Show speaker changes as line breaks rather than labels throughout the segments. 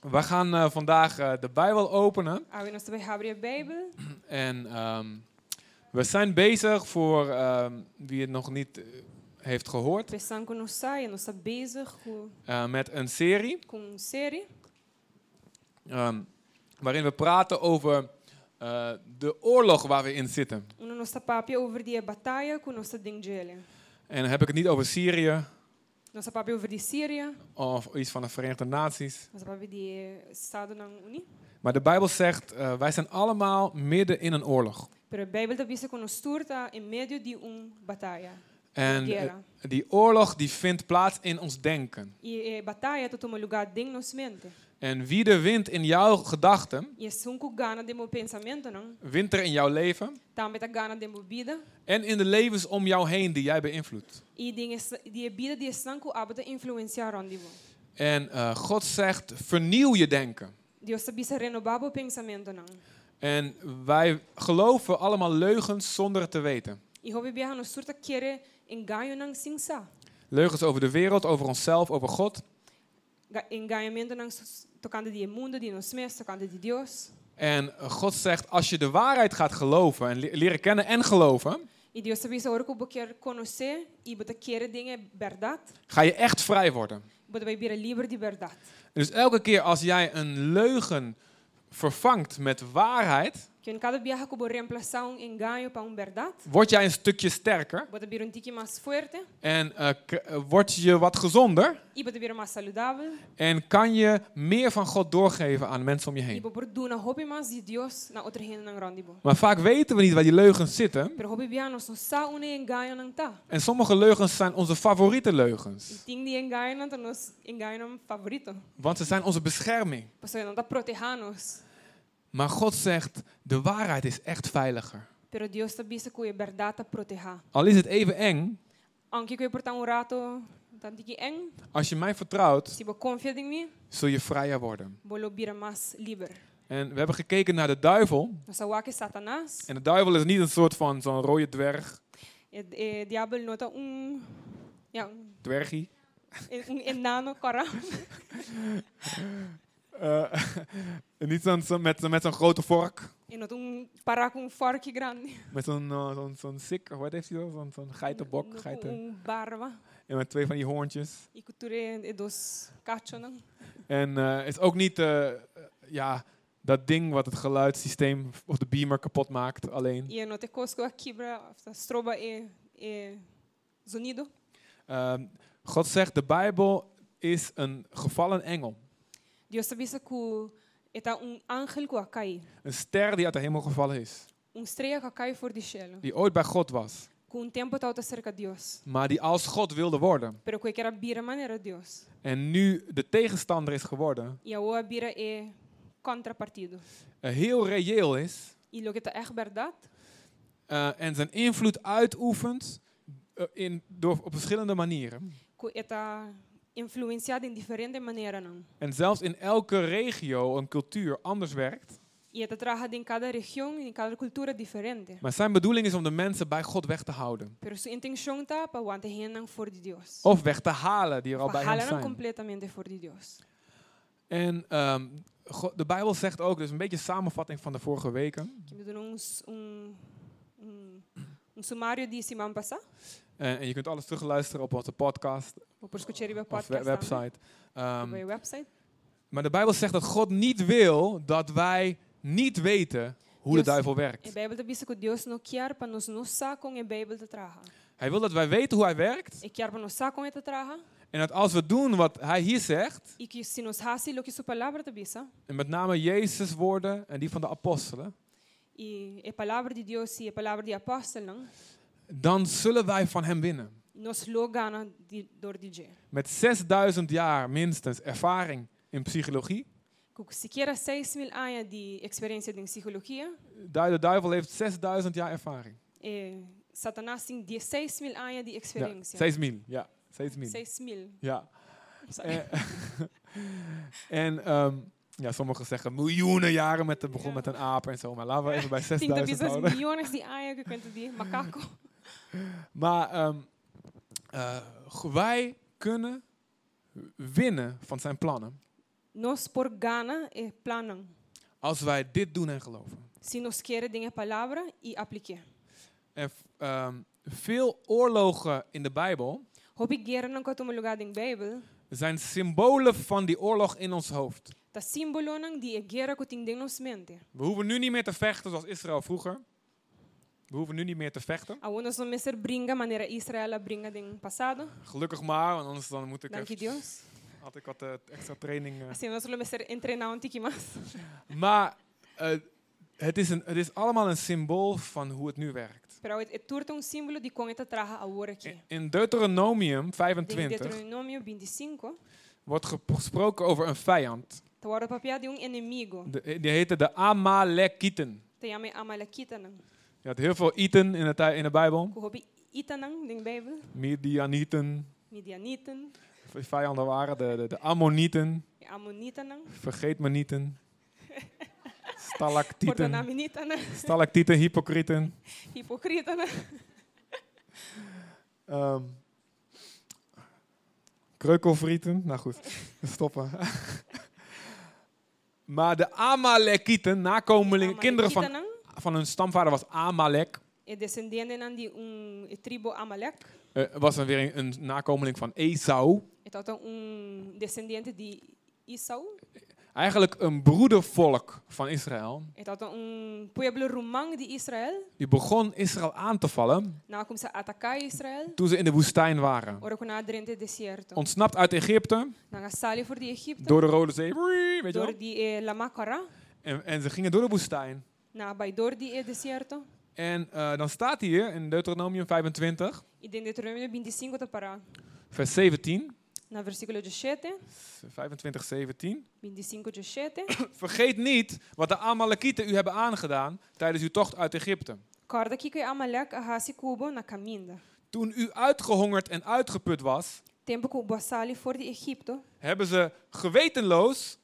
We gaan eh, vandaag eh, de Bijbel openen
А Wij gaan bij Gabriel Bijbel.
en ehm, we zijn bezig voor ehm, wie het nog niet eh, heeft gehoord
We staan com nós saia, nós está bezig com
eh, met een serie
com uma série
ehm, waarin we praten over eh, de oorlog waar we in zitten.
onde nós está papia over die batalha com nós está dingele.
En dan heb ik het niet over Syrië
Nós está papia over die Síria,
of iets van de Verenigde Naties,
nós está papia die Estado na Uni.
maar de Bijbel zegt eh, wij zijn allemaal midden in een oorlog.
Pero a Bijbel está bezig com nós turta em meio de uma batalha.
En eh,
guerra.
die oorlog die vindt plaats in ons denken.
E a batalha está tomando lugar dentro de nossa mente.
En wie er wint in jouw gedachten,
E é sunku gana de meu pensamento, não?
wint er in jouw leven
Também está gana de meu vida.
en in de levens om jou heen die jij beïnvloedt.
E die vida die sunku abata influenciar onde vou.
En eh, God zegt, vernieuw je denken.
Deus está bezig renovar o pensamento, não?
En wij geloven allemaal leugens zonder het te weten.
E houve bia nos surta kere engaio nang singsa.
Leugens over de wereld, over onszelf, over God.
Ga- Engaiamento nang sus- tocando de mundo, de nos mes, tocando de Deus.
En eh, God zegt, als je de waarheid gaat geloven en le- leren kennen en geloven,
E Deus sabe se orco bo quer conhecer e bota querer dinge verdade,
ga je echt vrij worden.
bota vai bira livre de verdade.
Dus elke keer als jij een leugen vervangt met waarheid,
Que em cada viagem que vou reemplaçar um engaio para um verdade,
word jij een stukje sterker
bota bira um tique mais forte
en eh, k- eh, word je wat gezonder
e bota bira mais saudável
en kan je meer van God doorgeven aan mensen om je
e
heen.
bo bordo na hobby mais de Deus na outra renda nang randibo.
Maar vaak weten we niet waar die leugens zitten.
Pero hobby bia nos sa une engaio nang ta.
En sommige leugens zijn onze favoriete
E
leugens.
ting de engaio nang ta nos engaio nang favorito.
Want ze zijn onze bescherming.
Pasoi nang ta protejanos.
Maar God zegt, de waarheid is echt veiliger.
Pero Deus está bisa que é verdade a proteger.
Al is het even eng,
Anche que portar um rato, tanto que eng,
als je mij vertrouwt,
se você confia em mim,
zul je vrijer worden.
vou bira mais livre.
En we hebben gekeken naar de duivel.
Nossa wake Satanás,
En de duivel is niet een soort van zo'n rode dwerg,
e o diabo nota um, ja, um,
dwergie.
um enano cara.
Eh, niet zo'n, zo'n- met, met zo'n grote vork.
E nota um para com um fork grande.
Met zo'n, eh, zo'n, zo'n sik, wat heeft hij dan? Zo'n, zo'n geitenbok. Geiten.
Um barba.
En met twee van die hoorntjes.
E cultura e dos cacho não.
En eh is ook niet eh, eh, ja, dat ding wat het geluidssysteem of de beamer kapot maakt alleen.
E nota cosco a quebra, a stroba e e zonido.
Ehm, God zegt, de Bijbel is een gevallen engel.
Deus sabe isso que está um anjo que cai.
Een ster die uit de hemel gevallen is.
Um estrela que cai fora do céu.
Die ooit bij God was,
com o tempo estava cerca de Deus,
maar die als God wilde worden.
pero que era bira maneira de Deus.
En nu de tegenstander is geworden,
E agora bira é contrapartido.
eh, heel reëel is.
E o que está é verdade,
eh, en zijn invloed uitoefent eh, in, door, op verschillende manieren.
que está influenciado em diferente maneira não.
En zelfs in elke regio een cultuur anders werkt.
E está trabalhado em cada região, em cada cultura diferente.
Maar zijn bedoeling is om de mensen bij God weg te houden.
Pero sua intenção está para wantar não fora de Deus.
Of weg te halen die er al bij hem
Halaram
zijn.
completamente fora de Deus.
En ehm, Go- de Bijbel zegt ook, dus een beetje een samenvatting van de vorige weken.
Que me deu um s- um um, um sumário de semana passada,
Eh, en je kunt alles terugluisteren op onze podcast,
ou por escutar o
of
podcast.
we- website. Ehm,
também, o website.
maar de Bijbel zegt dat God niet wil dat wij niet weten hoe de
Yes.
duivel
A
werkt.
Bíblia está dizendo que Deus não quer para nós não saber como a Bíblia te traga.
Hij wil dat wij weten hoe hij werkt.
Ele quer para nós saber como ele te traga
En dat als we doen wat hij hier zegt,
e que se nós fazemos o que sua palavra te diz,
en met name Jezus' woorden en die van de apostelen,
e a palavra de Deus e a palavra de apóstolo, não?
dan zullen wij van hem winnen.
nós logana de dor de dia.
Met 6000 jaar minstens ervaring in psychologie.
Com sequer 6 mil anos de experiência em psicologia,
Du- De duivel heeft 6000 jaar ervaring.
e Satanás tem 16 mil anos de
Ja,
experiência.
6000, ja. 6000.
6 mil.
Ja. En, en ehm, ja, sommigen zeggen miljoenen jaren met, de- begon
Ja.
met een aap en zo. Maar laten we even bij
Tem também
6000
essas
houden.
milhões de anos que conta de macaco.
Maar ehm, eh, wij kunnen winnen van zijn plannen.
Nós por gana e planam.
Als wij dit doen en geloven.
Se nós querem, tem a palavra e aplique.
En f- ehm, veel oorlogen in de Bijbel
Hobi guerra não katum lugar em Bijbel.
zijn symbolen van die oorlog in ons hoofd.
Tá símbolo não de guerra que tem em nossa mente.
We hoeven nu niet meer te vechten zoals Israël vroeger. We hoeven nu niet meer te vechten.
A unos não meser bringa maneira Israel bringa em passado.
Gelukkig maar, want anders dan moet ik
Dank je
eventjes-
Deus.
had ik wat eh, extra training. eh.
Assim nós não meser entrenar um tiki mais.
Maar eh, het, is een, het is allemaal een symbool van hoe het nu werkt.
Pero é turta um símbolo de como está traga agora aqui.
In- In Deuteronomium
Em
25
Deuteronômio 25,
wordt gep- gesproken over een vijand.
tá hora papia de um inimigo.
De, eh, die heette de Amalekieten.
Te chama Amalekita não.
Je had heel veel iten in de, tij- in de Bijbel.
Que hobi ita não em Bijbel.
Midianieten,
Midianitan,
die vijanden waren. De, de, de Ammonieten,
Ammonitan não.
vergeet me nieten. Stalactieten,
Portonaminita não.
stalactieten, hypocrieten.
Hipocrita não.
Ehm kreukelfrieten. Nou goed, we stoppen. maar de Amalekieten, nakomelingen, kinderen van,
Amalekieten,
van hun stamvader was Amalek.
é descendente não de um tribo Amalek.
Eh, was dan weer een, een nakomeling van Esau.
Então tá um descendente de Esau.
Eigenlijk een broedervolk van Israël.
Então tá um pueblo romano de Israel.
Die begon Israël aan te vallen
Não começa a atacar Israel.
toen ze in de woestijn waren.
Ora com a drente deserto.
Ontsnapt uit Egypte,
Não sale for de Egipto.
door de Rode Zee, wee, weet je
Door
wel.
die eh, Lamakara.
En, en ze gingen door de woestijn.
Na door die eh, deserto.
En eh, dan staat hier in Deuteronomium 25,
E de Deuteronômio 25 tá para
vers 17.
na versículo 17,
25, 17.
25 17.
Vergeet niet wat de Amalekieten u hebben aangedaan tijdens uw tocht uit Egypte.
Corda que que Amalek arrasa cubo na caminda.
Toen u uitgehongerd en uitgeput was,
Tempo que o Bossali for de Egipto,
hebben ze gewetenloos,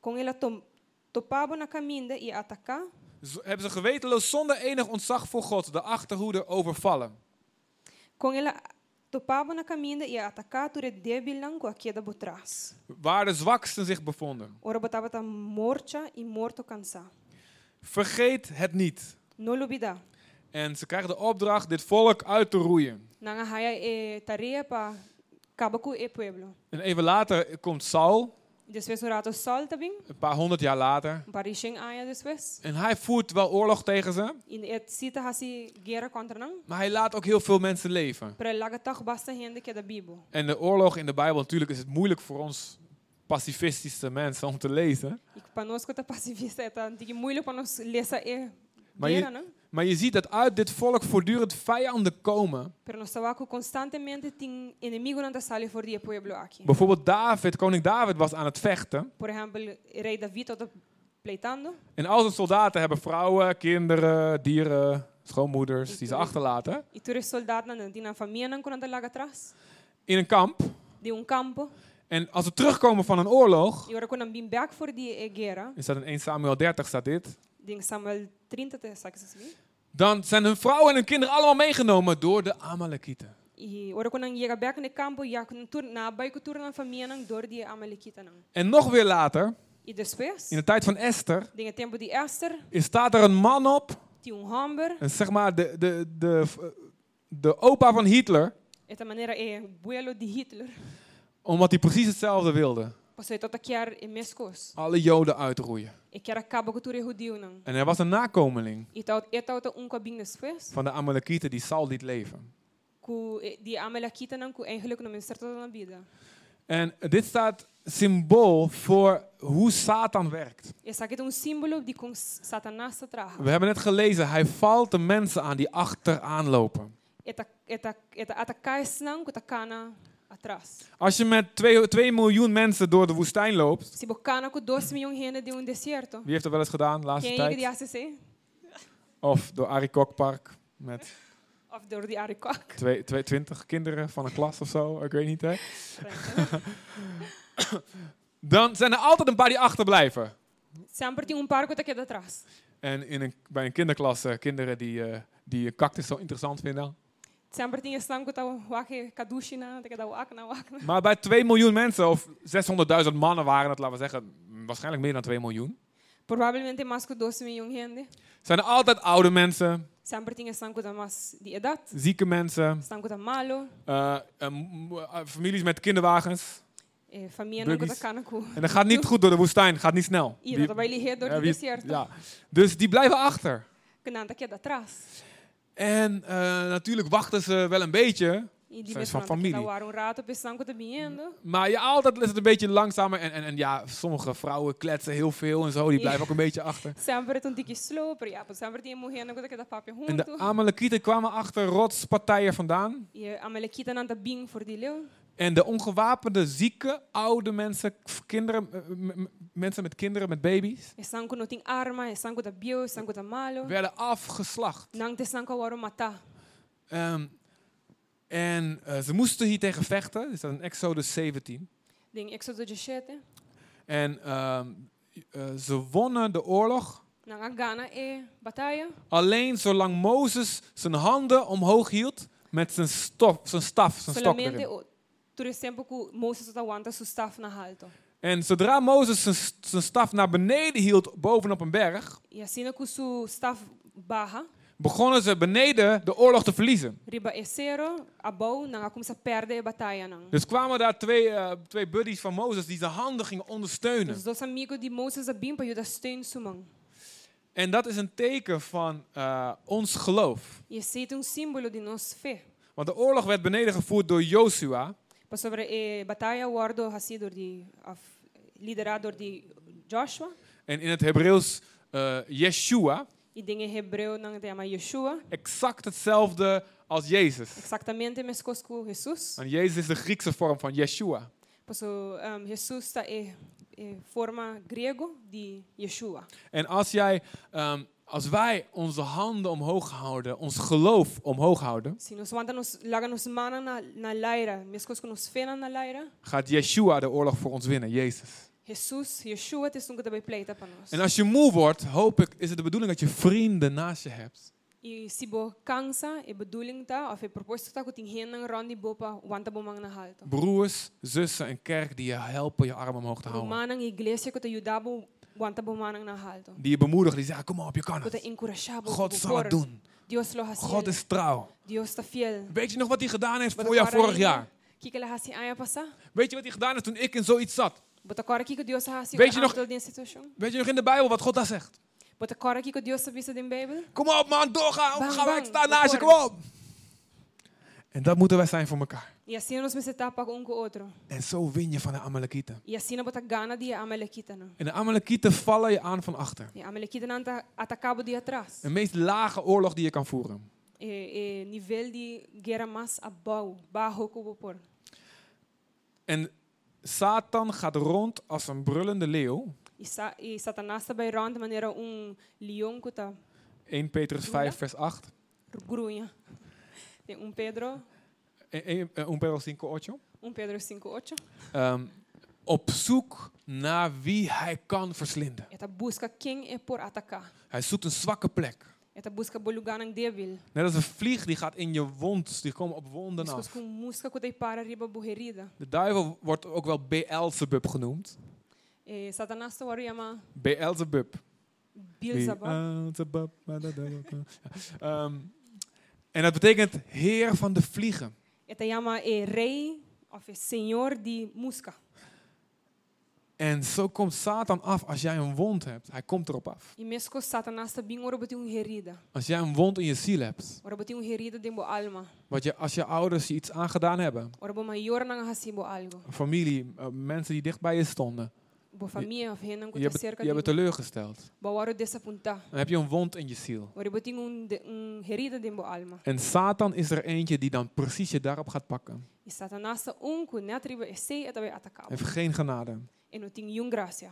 com ela tom, topava na caminda e atacar,
z- hebben ze gewetenloos zonder enig ontzag voor God de achterhoede overvallen.
com ela topava na caminda e atacar ture debilan com a queda por trás.
Waar de zwaksten zich bevonden.
Ora botava tá morta e morto cansar.
Vergeet het niet.
Não olvidar.
En ze krijgen de opdracht dit volk uit te roeien.
Nanga haya é tarefa para cabaco e pueblo.
En even later komt Saul,
Depois o rato solta bem,
een paar honderd jaar later.
parishen aia depois.
En hij voert wel oorlog tegen ze,
E et cita hasi guerra contra não.
maar hij laat ook heel veel mensen leven.
Para laga toch basta hende que da bibo.
En de oorlog in de Bijbel, natuurlijk is het moeilijk voor ons pacifistische mensen om te lezen.
E que para nós que tá passivista é tá de muito para nós lesa e
Maar je-
guerra, não?
Maar je ziet dat uit dit volk voortdurend vijanden komen.
Pero nós tabaco constantemente tem inimigo não tá sale for die pueblo aqui.
Bijvoorbeeld David, koning David was aan het vechten.
Por exemplo, rei David tá pleitando
En al zijn soldaten hebben vrouwen, kinderen, dieren, schoonmoeders die ze achterlaten.
e tu soldado não tem na família não quando laga atrás
In een kamp.
de um campo
En als ze terugkomen van een oorlog,
e agora quando vim back for die guerra,
is dat in 1 Samuel 30 staat dit.
de Samuel 30 te sabe assim.
Dan zijn hun vrouwen en hun kinderen allemaal meegenomen door de Amalekieten.
E agora quando chega back no campo, já quando tu na baico tu na família não dor die amalekita não.
En nog weer later,
E depois,
in de tijd van Esther,
de tempo de Esther,
is- staat er een man op
tinha um homem
En zeg maar, de, de, de, de opa van Hitler,
Esta maneira é buelo de Hitler.
omdat hij precies hetzelfde wilde.
Você tot quer em mescos.
Alle Joden uitroeien.
E quer acaba com tudo judeu não.
En hij was een nakomeling
E tal e tal um cabinho depois,
van de Amalekieten die Saul liet leven.
que de amalekita não que eigenlijk não me certo na vida.
En dit staat symbool voor hoe Satan werkt.
Essa aqui é um símbolo de como Satanás traga.
We hebben net gelezen, hij valt de mensen aan die achteraan lopen.
Eta eta eta atacais não que tacana atrás.
Als je met 2 miljoen mensen door de woestijn loopt,
Se bocana com 2 milhões de de um deserto.
wie heeft dat wel eens gedaan de laatste
Quem é que de
tijd?
ACC?
Of door Arie Kokpark met
Of door de Arikok.
twee- twee- 20 kinderen van een klas of zo, ik weet niet hè. Dan zijn er altijd een paar die achterblijven.
Sempre tem um par que queda atrás.
En in een, bij een kinderklas eh, kinderen die, eh die een cactus zo interessant vinden.
Sempre tinha sangue que estava wakke kadushina, dat ik dat wakna wakna.
Maar bij 2 miljoen mensen, of 600.000 mannen waren het, laten we zeggen, mm, waarschijnlijk meer dan 2 miljoen.
Provavelmente mais que 12 miljoen gente.
Zijn er altijd oude mensen,
Sempre tinha sangue da mais de idade,
zieke mensen,
sangue da malo,
eh, eh, m- eh, families met kinderwagens.
eh, família não que
Buggies.
da canaco.
En dat gaat niet goed door de woestijn, gaat niet snel.
E
Die-
dat vai ligado
ja,
do
wie-
deserto,
ja. Dus die blijven achter.
que nada que é da trás.
En eh, natuurlijk wachten ze wel een beetje,
E
Zijn
de vez
van
nada que
familie.
da war um rato, pe sangue da biendo.
Maar ja, altijd is het een beetje langzamer. En, en, en ja, sommige vrouwen kletsen heel veel en zo. Die blijven ook een beetje achter.
Sempre tem que sloper, ja, ah, sempre tinha morrendo que da papi
En de
junto.
Amalekieten kwamen achter rotspartijen vandaan.
E a tá melekita nada bing voor die leeuw.
En de ongewapende, zieke, oude mensen, k- kinderen, eh, m- m- mensen met kinderen, met baby's,
E sangue É não tem arma, é e sangue da bio, sangue da tá malo.
werden afgeslacht.
Não te sangue warum matar.
Ehm, en eh, ze moesten hier tegen vechten. Dus dat is in Exodus 17.
Ding Exodus 17.
En ehm, eh, ze wonnen de oorlog
Nang agana e é batalha.
alleen zolang Mozes zijn handen omhoog hield met zijn, stof, zijn staf, zijn stok erin.
Solamente o- por exemplo que Moses aguenta seu staff na alto.
En zodra Mozes zijn, s- zijn staf naar beneden hield, bovenop een berg,
E assim que seu staff barra,
begonnen ze beneden de oorlog te verliezen.
riba é zero, abou, nang começa a perder a batalha nang.
Dus kwamen daar twee, eh, twee buddies van Mozes die zijn handen gingen ondersteunen.
Os dois amigos de Moses a bim para ajudar steun sua mão.
En dat is een teken van eh, ons geloof.
E esse é um símbolo de nossa fé.
Want de oorlog werd beneden gevoerd door Joshua.
Para sobre a batalha, o ordo ha sido de af- liderado de Joshua
En in het Hebreeuws eh, Yeshua.
e tem em hebreu nang tema Yeshua,
Exact hetzelfde als Jezus.
exatamente mesmo coisa que Jesus.
En Jezus is de Griekse vorm van Yeshua.
Pois um, Jesus tá é, é forma grego de Yeshua.
En als, jij, ehm, als wij onze handen omhoog houden, ons geloof omhoog houden,
Se nós manda nos laga nos mana na, na laira, mesmo coisa que nos fena na laira,
gaat Yeshua de oorlog voor ons winnen, Jezus.
Jesus, Yeshua te sunga também pleita para nós.
En als je moe wordt, hoop ik, is het de bedoeling dat je vrienden naast je hebt.
E se bo cansa, e bedoeling tá, of e propósito tá que tem hena rondi bopa, wanta bomang na halto.
Broers, zussen en kerk die je helpen je arm omhoog te houden.
Romanang iglesia que te ajudava, wanta bomanang na halto.
Die je bemoedigen, die zeggen, "Ah, kom op, je kan
Que te
het.
encorajava,
God zal het doen.
Deus lo
God
hasil.
is trouw.
Deus tá fiel.
Weet je nog wat hij gedaan heeft
Wat
voor jou
agora
vorig
ainda-
jaar?
Que que ela hasi aia passar?
Weet je wat hij gedaan heeft toen ik in zoiets zat?
Bota agora aqui que Deus hasi
Weet je nog-
de situação.
Weet je nog in de Bijbel wat God daar zegt?
Bota agora aqui que Deus sabia da Bíblia.
Kom op man, doorgaan.
Bang,
Ga weg,
bang,
staan naast je,
bekoren.
kom op. En dat moeten wij zijn voor elkaar.
E assim nós nos etapa um com o outro.
En zo win je van de Amalekieten.
E assim bota gana de Amalekita.
En de Amalekieten vallen je aan van achter.
E Amalekita não atacava de atrás.
De meest lage oorlog die je kan voeren.
E, e nível de guerra mais abau, barro que vou pôr.
En Satan gaat rond als een brullende leeuw.
E, sa, e Satanás também ronda de maneira um leão que está
1 Petrus 5, vers 8.
grunha. Tem um Pedro,
E- e- eh, Un Pedro 5, 8.
um Pedro 5:8.
Ehm, op zoek naar wie hij kan verslinden.
Ela busca quem é por atacar.
Hij zoekt een zwakke plek.
Ela busca por lugar nang débil.
Net als een vlieg die gaat in je wond. Dus Die komen op wonden
Busca
af.
com música que tem para riba borrerida.
De duivel wordt ook wel Beelzebub genoemd.
E Satanás também chama
Beelzebub. ah.
Beelzebub.
Beelzebub, badadababa. Ja. Ehm, en dat betekent heer van de vliegen.
Ela chama é rei, ou é senhor de música.
En zo komt Satan af als jij een wond hebt. Hij komt erop af.
E mesmo que Satanás está bem, ora botem uma herida.
Als jij een wond in je ziel hebt.
Ora botem uma herida dentro da alma.
Wat je, als je ouders je iets aangedaan hebben.
Ora bo maior não recebo algo.
Een Familie, eh, mensen die dicht bij je stonden.
Bo família, of hen não
Je hebt,
conta
je
cerca
hebt
de
teleurgesteld.
bo ora desapontar.
Dan heb je een wond in je ziel.
Ora botem um, de, um herida dentro da alma.
En Satan is er eentje die dan precies je daarop gaat pakken.
E Satanás está um com net riba e sei e também atacava.
Heeft geen genade.
E não tem nenhuma graça.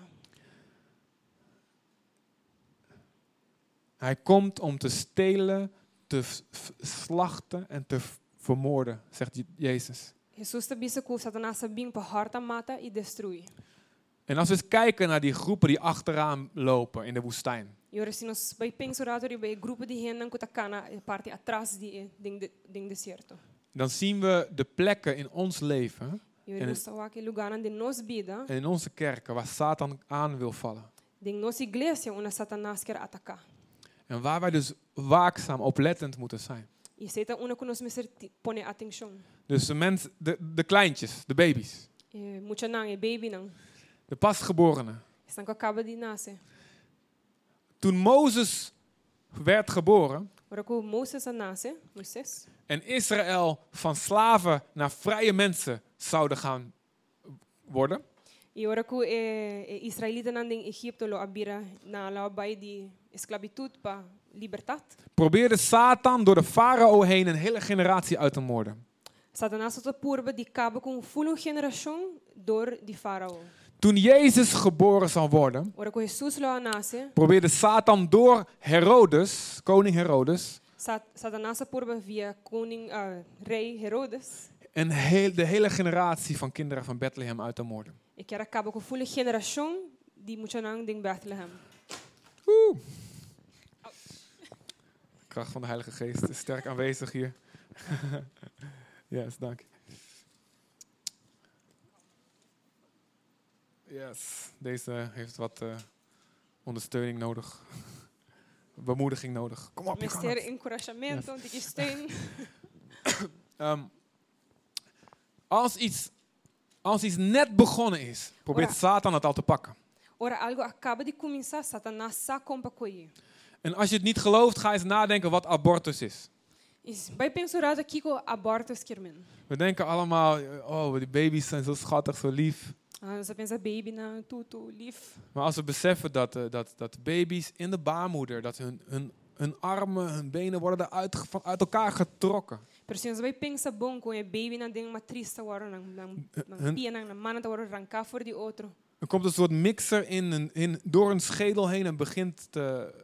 Hij komt om te stelen, te v- v- slachten en te v- vermoorden, zegt Je- Jezus.
Jesus está bisa que Satanás está bem para harta mata e destruir.
En als we eens kijken naar die groepen die achteraan lopen in de woestijn.
E Eu se nós vai pensar sobre o grupo de gente que está na parte atrás de ding de ding deserto.
Dan zien we de plekken in ons leven
Eu
En-
não sou aquele lugar onde nos vida,
en in onze kerken waar Satan aan wil vallen.
ding nos igreja onde Satanás quer atacar.
En waar wij dus waakzaam, oplettend moeten zijn.
E se está onde que nós meser põe atenção.
Dus de, mens, de, de kleintjes, de baby's,
E muita não é baby não.
de pasgeborenen.
Estão que acaba de nascer.
Toen Mozes werd geboren
Ora que Moisés nasce, Moisés.
en Israël van slaven naar vrije mensen zouden gaan worden,
E ora que eh, eh, israelita não em Egito lo abira na lá vai de esclavitude para liberdade.
probeerde Satan door de farao heen een hele generatie uit te moorden.
Satanás está purba de cabo com full geração dor de faraó.
Toen Jezus geboren zou worden,
Ora que Jesus lo nasce,
probeerde Satan door Herodes, koning Herodes,
Sat Satanás está purba via koning ah, rei Herodes.
een heel, de hele generatie van kinderen van Bethlehem uit te moorden.
E que era cabo com full geração de muchanang de Bethlehem.
Oeh. De kracht van de Heilige Geest is sterk aanwezig hier. yes, dank. Yes, deze heeft wat eh, ondersteuning nodig. Bemoediging nodig. Kom op, je kan
Mister
het.
encorajamento, de que steun.
Ehm, als, iets, als iets net begonnen is, probeert
Ora.
Satan het al te pakken.
Ora algo acaba de começar, Satanás um sa compa coi.
En als je het niet gelooft, ga eens nadenken wat abortus is.
Vai pensurado aqui com abortos kermen.
We denken allemaal, eh, oh, die baby's zijn zo schattig, zo lief.
Ah, você pensa baby na tutu, lief.
Maar als we beseffen dat, eh, dat, dat baby's in de baarmoeder, dat hun, hun, hun armen, hun benen worden eruit, ge- van- uit elkaar getrokken.
Pero se você vai pensar bom com é baby na dentro uma triste agora na na na
Hun-
pia na na mana agora arrancar fora de outro.
Er komt een soort mixer in, een- in, door hun schedel heen en begint, te,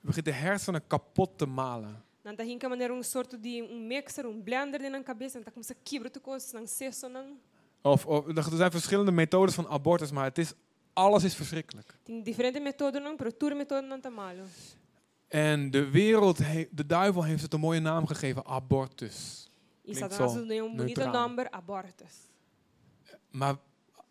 begint de hersenen kapot te malen.
Na tá hinca maneira um sorto de um mixer, um blender dentro na cabeça, tá como se quebra tu coisa, não cesso não.
Of, of, er zijn verschillende methodes van abortus, maar het is, alles is verschrikkelijk.
Tem diferente metodo não, pero tur metodo não tá malo.
En de wereld, he- de duivel heeft het een mooie naam gegeven, abortus.
E
Klinkt
Satanás
zo
deu um bonito
neutraal.
number abortos.
Maar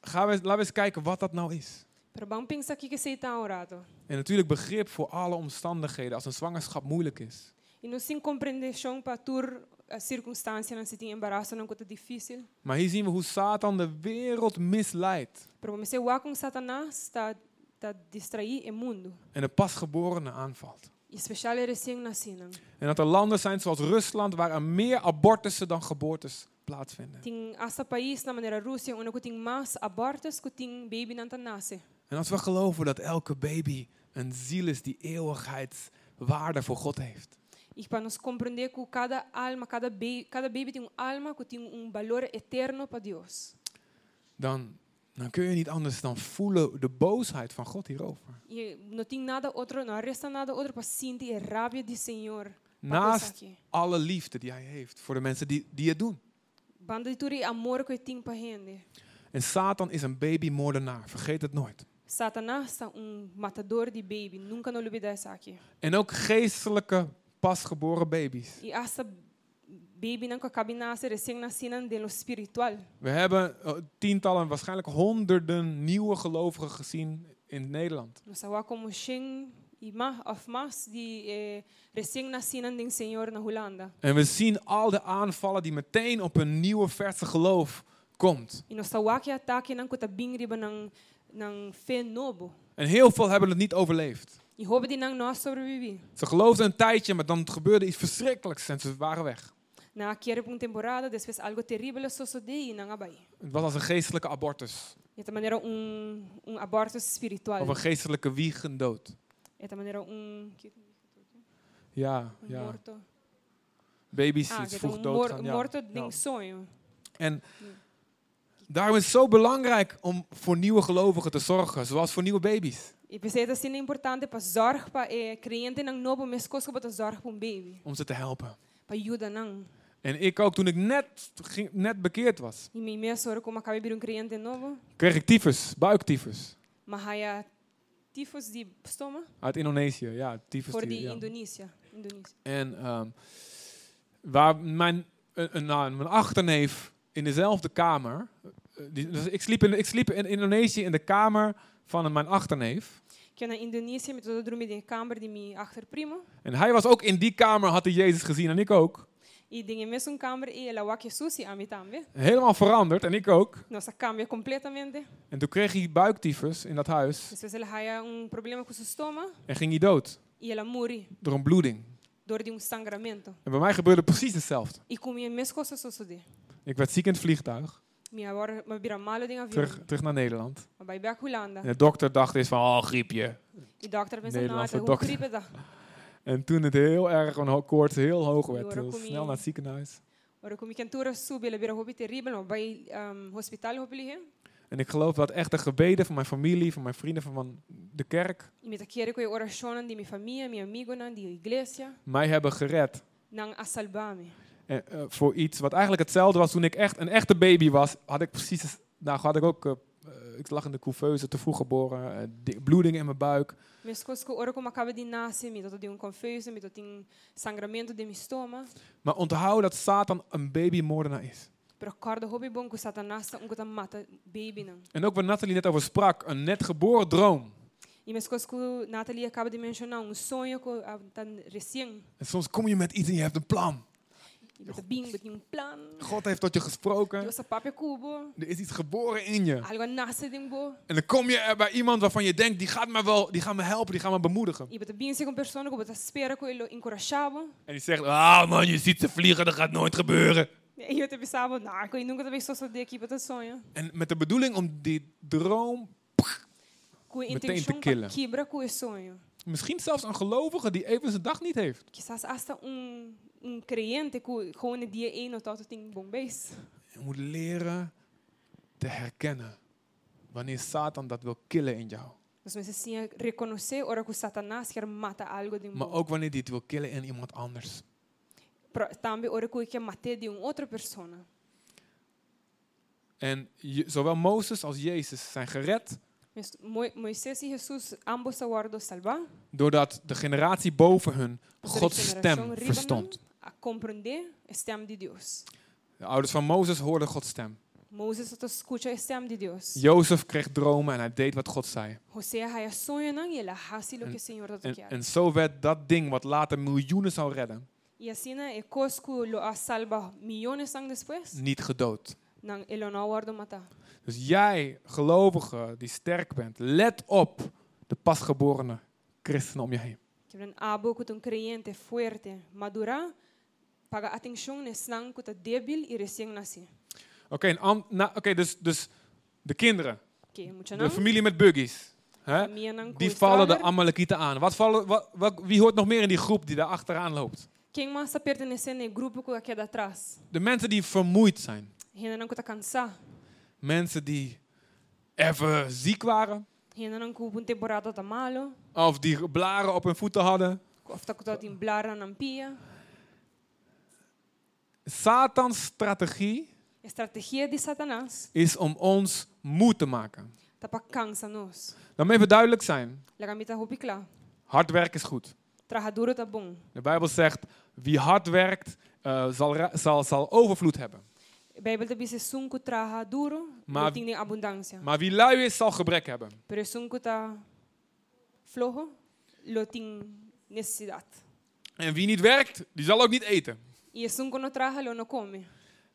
gaan we, eens- laten we eens kijken wat dat nou is.
Pero vamos pensar aqui que se está orado.
En natuurlijk begrip voor alle omstandigheden als een zwangerschap moeilijk is.
E não sem compreensão para tur a circunstância não se tem embaraço não coisa difícil.
Maar hier zien we hoe Satan de wereld misleidt
Pero comecei a com Satanás está tá distrair o mundo,
en de pasgeborenen aanvalt.
e especial recém nascido.
En dat er landen zijn zoals Rusland waar er meer abortussen dan geboortes plaatsvinden.
Tem essa país na maneira Rússia onde que tem mais abortos que tem baby não tá nasce.
En als we geloven dat elke baby een ziel is die eeuwigheidswaarde voor God heeft.
E para nós compreender que cada alma, cada baby, cada baby tem um alma que tem um valor eterno para Deus.
Dan, dan kun je niet anders dan voelen de boosheid van God hierover.
E não tem nada outro, não resta nada outro para sentir a rábia do Senhor.
Naast alle liefde die hij heeft voor de mensen die, die het doen.
Banda de tudo e amor que tem para gente.
En Satan is een babymoordenaar, vergeet het nooit.
Satanás está um matador de baby, nunca não obedece aqui.
En ook geestelijke pasgeboren baby's.
E essa baby não acaba de nascer, recém-nascida, no espiritual.
We hebben eh, tientallen, waarschijnlijk honderden nieuwe gelovigen gezien in Nederland.
Nós há como Shen e mais, of mais de eh, recém-nascida do Senhor na Holanda.
En we zien al de aanvallen die meteen op een nieuwe verse geloof komt.
E nós há que ataque não que tá bem riba não não fé novo.
En heel veel hebben het niet overleefd.
E rouba de não nós sobreviver.
Ze geloofden een tijdje, maar dan gebeurde iets verschrikkelijks en ze waren weg.
Na aquele uma temporada, depois algo terrível sucedeu e não abai.
Het was als een geestelijke abortus
E da maneira um um aborto espiritual.
of een geestelijke wiegendood.
E da maneira um que
Ja,
um
ja.
morto.
Baby's
Ah,
die
que
vroeg
um mor
doodgaan. ja.
morto de
Ja.
um sonho.
En daarom is het zo belangrijk om voor nieuwe gelovigen te zorgen, zoals voor nieuwe baby's.
E pensei que assim é importante para zorg para eh, cliente não novo mas coisa para zorg para um baby,
Om ze te helpen.
para ajuda não.
En ik ook, toen ik net, ging- net bekeerd was,
E minha mesma hora como acabei de vir um cliente novo,
kreeg ik tyfus, buiktyfus.
mas aí tyfus die stammen
Uit Indonesië, ja. Tyfus
voor
die-
die
ja.
Indonesië. Indonesië.
En ehm, waar mijn, een- een- nou, mijn achterneef in dezelfde kamer. eh, die- dus ik sliep, in, ik sliep in Indonesië in de kamer van een- mijn achterneef.
Ik ga naar Indonesië met de droom in de kamer die mij achter prima.
En hij was ook in die kamer, had hij Jezus gezien en ik ook.
E dingen met zo'n kamer e la wakje sushi aan met aan.
Helemaal veranderd en ik ook.
Nossa cambia completamente.
En toen kreeg hij buiktyfus in dat huis
Dus ela haya um problema com seu estômago
en ging hij dood
e ela morre
door een bloeding.
dor de um sangramento.
En bij mij gebeurde precies hetzelfde.
E com minha mesma coisa sucede.
Ik werd ziek in het vliegtuig,
Minha hora me vira mal de avião.
terug, terug naar Nederland.
Maar bij back Holanda.
En de dokter dacht eens van, oh, griepje.
Die dokter pensa na
Nederlandse
hoe
dokter.
griep dat.
En toen het heel erg, een ho- koorts heel hoog werd,
Joh,
heel
dan kom je-
snel naar het ziekenhuis.
Ora kom ik antura sub ela vira hobby terrível no bij um, hospital hobby liggen.
En ik geloof dat echt de gebeden van mijn familie, van mijn vrienden, van mijn- de kerk,
E me taquere com orações de minha família, minha amigo na de igreja,
mij hebben gered.
nang a salvar-me.
En, eh, voor iets wat eigenlijk hetzelfde was toen ik echt een echte baby was. Had ik precies, nou had ik ook, eh, eh, ik lag in de couveuse, te vroeg geboren, eh, di- bloeding in mijn buik.
Minhas coisas que ora como acaba de nascer, me tô de um confesso, me tô tem sangramento de meu estômago.
Maar onthoud dat Satan een babymoordenaar is.
Pero acorda hobby bom que Satanás um que mata baby não.
En ook waar Nathalie net over sprak, een net geboren droom.
E minhas coisas que Natalie acaba de mencionar, um sonho que tá recém,
En soms kom je met iets en je hebt een plan.
e tá bem, tem um plano.
God heeft tot je gesproken.
Eu sou papo cubo,
Er is iets geboren in je.
algo nasce de um bo.
En dan kom je er bij iemand waarvan je denkt, die gaat me wel, die gaat me helpen, die gaat me bemoedigen.
E tá bem se com pessoa que tá espera que ele encorajava.
En die zegt, ah man, je ziet ze vliegen, dat gaat nooit gebeuren.
E eu te pensava, não, que eu nunca também sou só de aqui para sonho.
En met de bedoeling om die droom,
Com
Meteen te
intenção
killen.
para quebra com o sonho.
misschien zelfs een gelovige die even zijn dag niet heeft.
Quizás hasta um um creyente que gewoon de dia 1 tot tot in Bombays.
Je moet leren te herkennen wanneer Satan dat wil killen in jou.
Nós precisamos reconhecer ora que Satanás quer matar algo de um
Maar
bom.
ook wanneer die het wil killen in iemand anders.
Pro- Também ora que quer matar de um outra pessoa.
En je- zowel Mozes als Jezus zijn gered
Mas Mo- Moisés e Jesus ambos aguardam salvar.
doordat de generatie boven hun
Nossa
Gods
regeneração
stem
riba-me
verstond.
A compreender a stem de Deus.
De ouders van Mozes hoorden Gods stem.
Moisés só escuta a stem de Deus.
Jozef kreeg dromen en hij deed wat God zei.
José há sonho não e ele hace o
En-
que o Senhor está
En,
quer.
en zo werd dat ding wat later miljoenen zou redden,
E assim é Cosco lo a salva milhões de anos depois.
niet gedood.
Não ele não aguarda matar.
Dus jij, gelovige die sterk bent, let op de pasgeborene christenen om je heen.
Que um abo que um creyente forte, madura, paga atenção nesse não que está débil e recém-nascido.
Oké, een an- na- oké, dus, dus de kinderen,
Que muito não.
de familie met buggies, hè,
Minha não
die vallen de
constrói.
Amalekieten aan. Wat vallen, wat, wat- wie hoort nog meer in die groep die daar achteraan loopt?
Quem mais está pertencendo ao grupo que aqui atrás?
De mensen die vermoeid zijn,
Ainda não que está cansado.
mensen die even ziek waren,
Ainda não que uma temporada está malo.
of die blaren op hun voeten hadden.
Ou está que está em blara na pia.
Satans strategie
Estratégia de Satanás
is om ons moe te maken.
está para cansar nós.
Dan even duidelijk zijn.
A gamita roupa clara.
Hard werk is goed.
Traga duro está bom.
De Bijbel zegt, wie hard werkt, eh, zal, ra- zal, zal overvloed hebben.
A Bíblia diz que sun que traga duro,
Maar-
não tem abundância.
Maar wie lui is, zal gebrek hebben.
Pero es un está flojo, lo tiene necesidad.
En wie niet werkt, die zal ook niet eten.
Y es un que no trabaja, lo no come.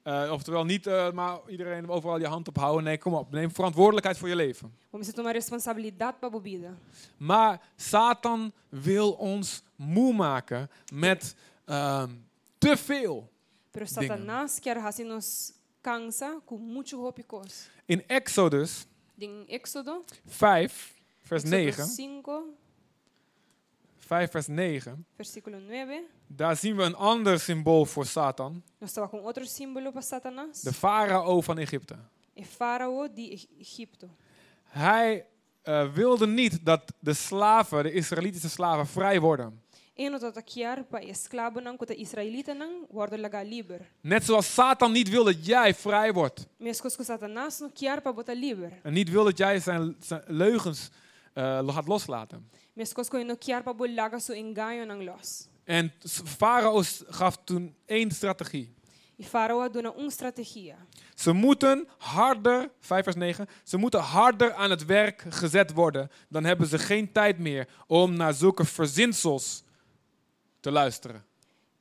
Eh, oftewel niet, eh, maar iedereen overal je hand ophouden. Nee, kom op, neem verantwoordelijkheid voor je leven.
Vamos a tomar responsabilidad para a bebida.
Maar Satan wil ons moe maken met ehm, te veel.
Pero Satanás quer hacernos cansa com mucho rópicos.
In Exodus
Em Éxodo,
5, vers
Éxodo
9,
5,
5 vers 9,
versículo 9,
daar zien we een ander symbool voor Satan.
nós estava com outro símbolo para Satanás.
De farao van Egypte.
É faraó de E- Egipto.
Hij eh, wilde niet dat de slaven, de Israëlitische slaven, vrij worden.
E não está quer para esclavo não, que israelita não, guarda lagar livre.
Net zoals Satan niet wil dat jij vrij wordt.
Mas coisas que Satanás não quer para botar livre.
En niet wil dat jij zijn, zijn leugens eh, had loslaten.
Miskos ko inokjar e pa bolj laga e so engajo ng los.
En s- farao s- gaf toen één strategie.
I faraoa do na un strategija.
Ze moeten harder, 5 vers 9, ze moeten harder aan het werk gezet worden. Dan hebben ze geen tijd meer om naar zulke verzinsels te luisteren.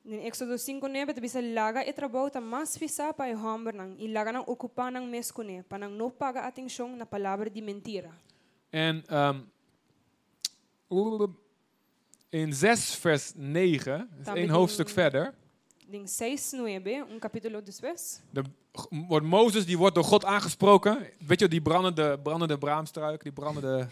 Në Exodo 5:9 të bisa laga e trabauta mas fisa pa e hambër nang, i laga nang okupa nang mes kune, pa nang no paga ating shong na palavra di mentira.
En ehm, in 6 vers 9, dat is één
Dan begin-
hoofdstuk verder,
Ding 6:9, un capítulo después,
de, wordt Mozes, die wordt door God aangesproken. Weet je, die brandende, brandende braamstruik, die brandende...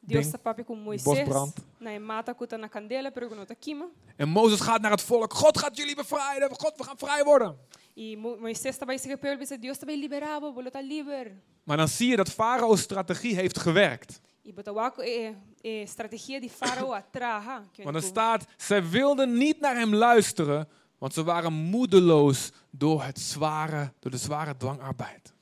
Dios
Ding.
sa papi ku Moises,
Bosbrand.
na e mata ku ta na kandela pero ku no takima,
En Mozes gaat naar het volk. God gaat jullie bevrijden. God, we gaan vrij worden.
i Mo- Moises ta bai se kapel bisa Dios ta bai liberaba, bolo ta liber.
Maar dan zie je dat Farao's strategie heeft gewerkt.
I botawako e, e strategia di faraoa traha, kjo
Want er
ku.
staat, zij wilden niet naar hem luisteren, want ze waren moedeloos door, het zware, door de zware dwangarbeid.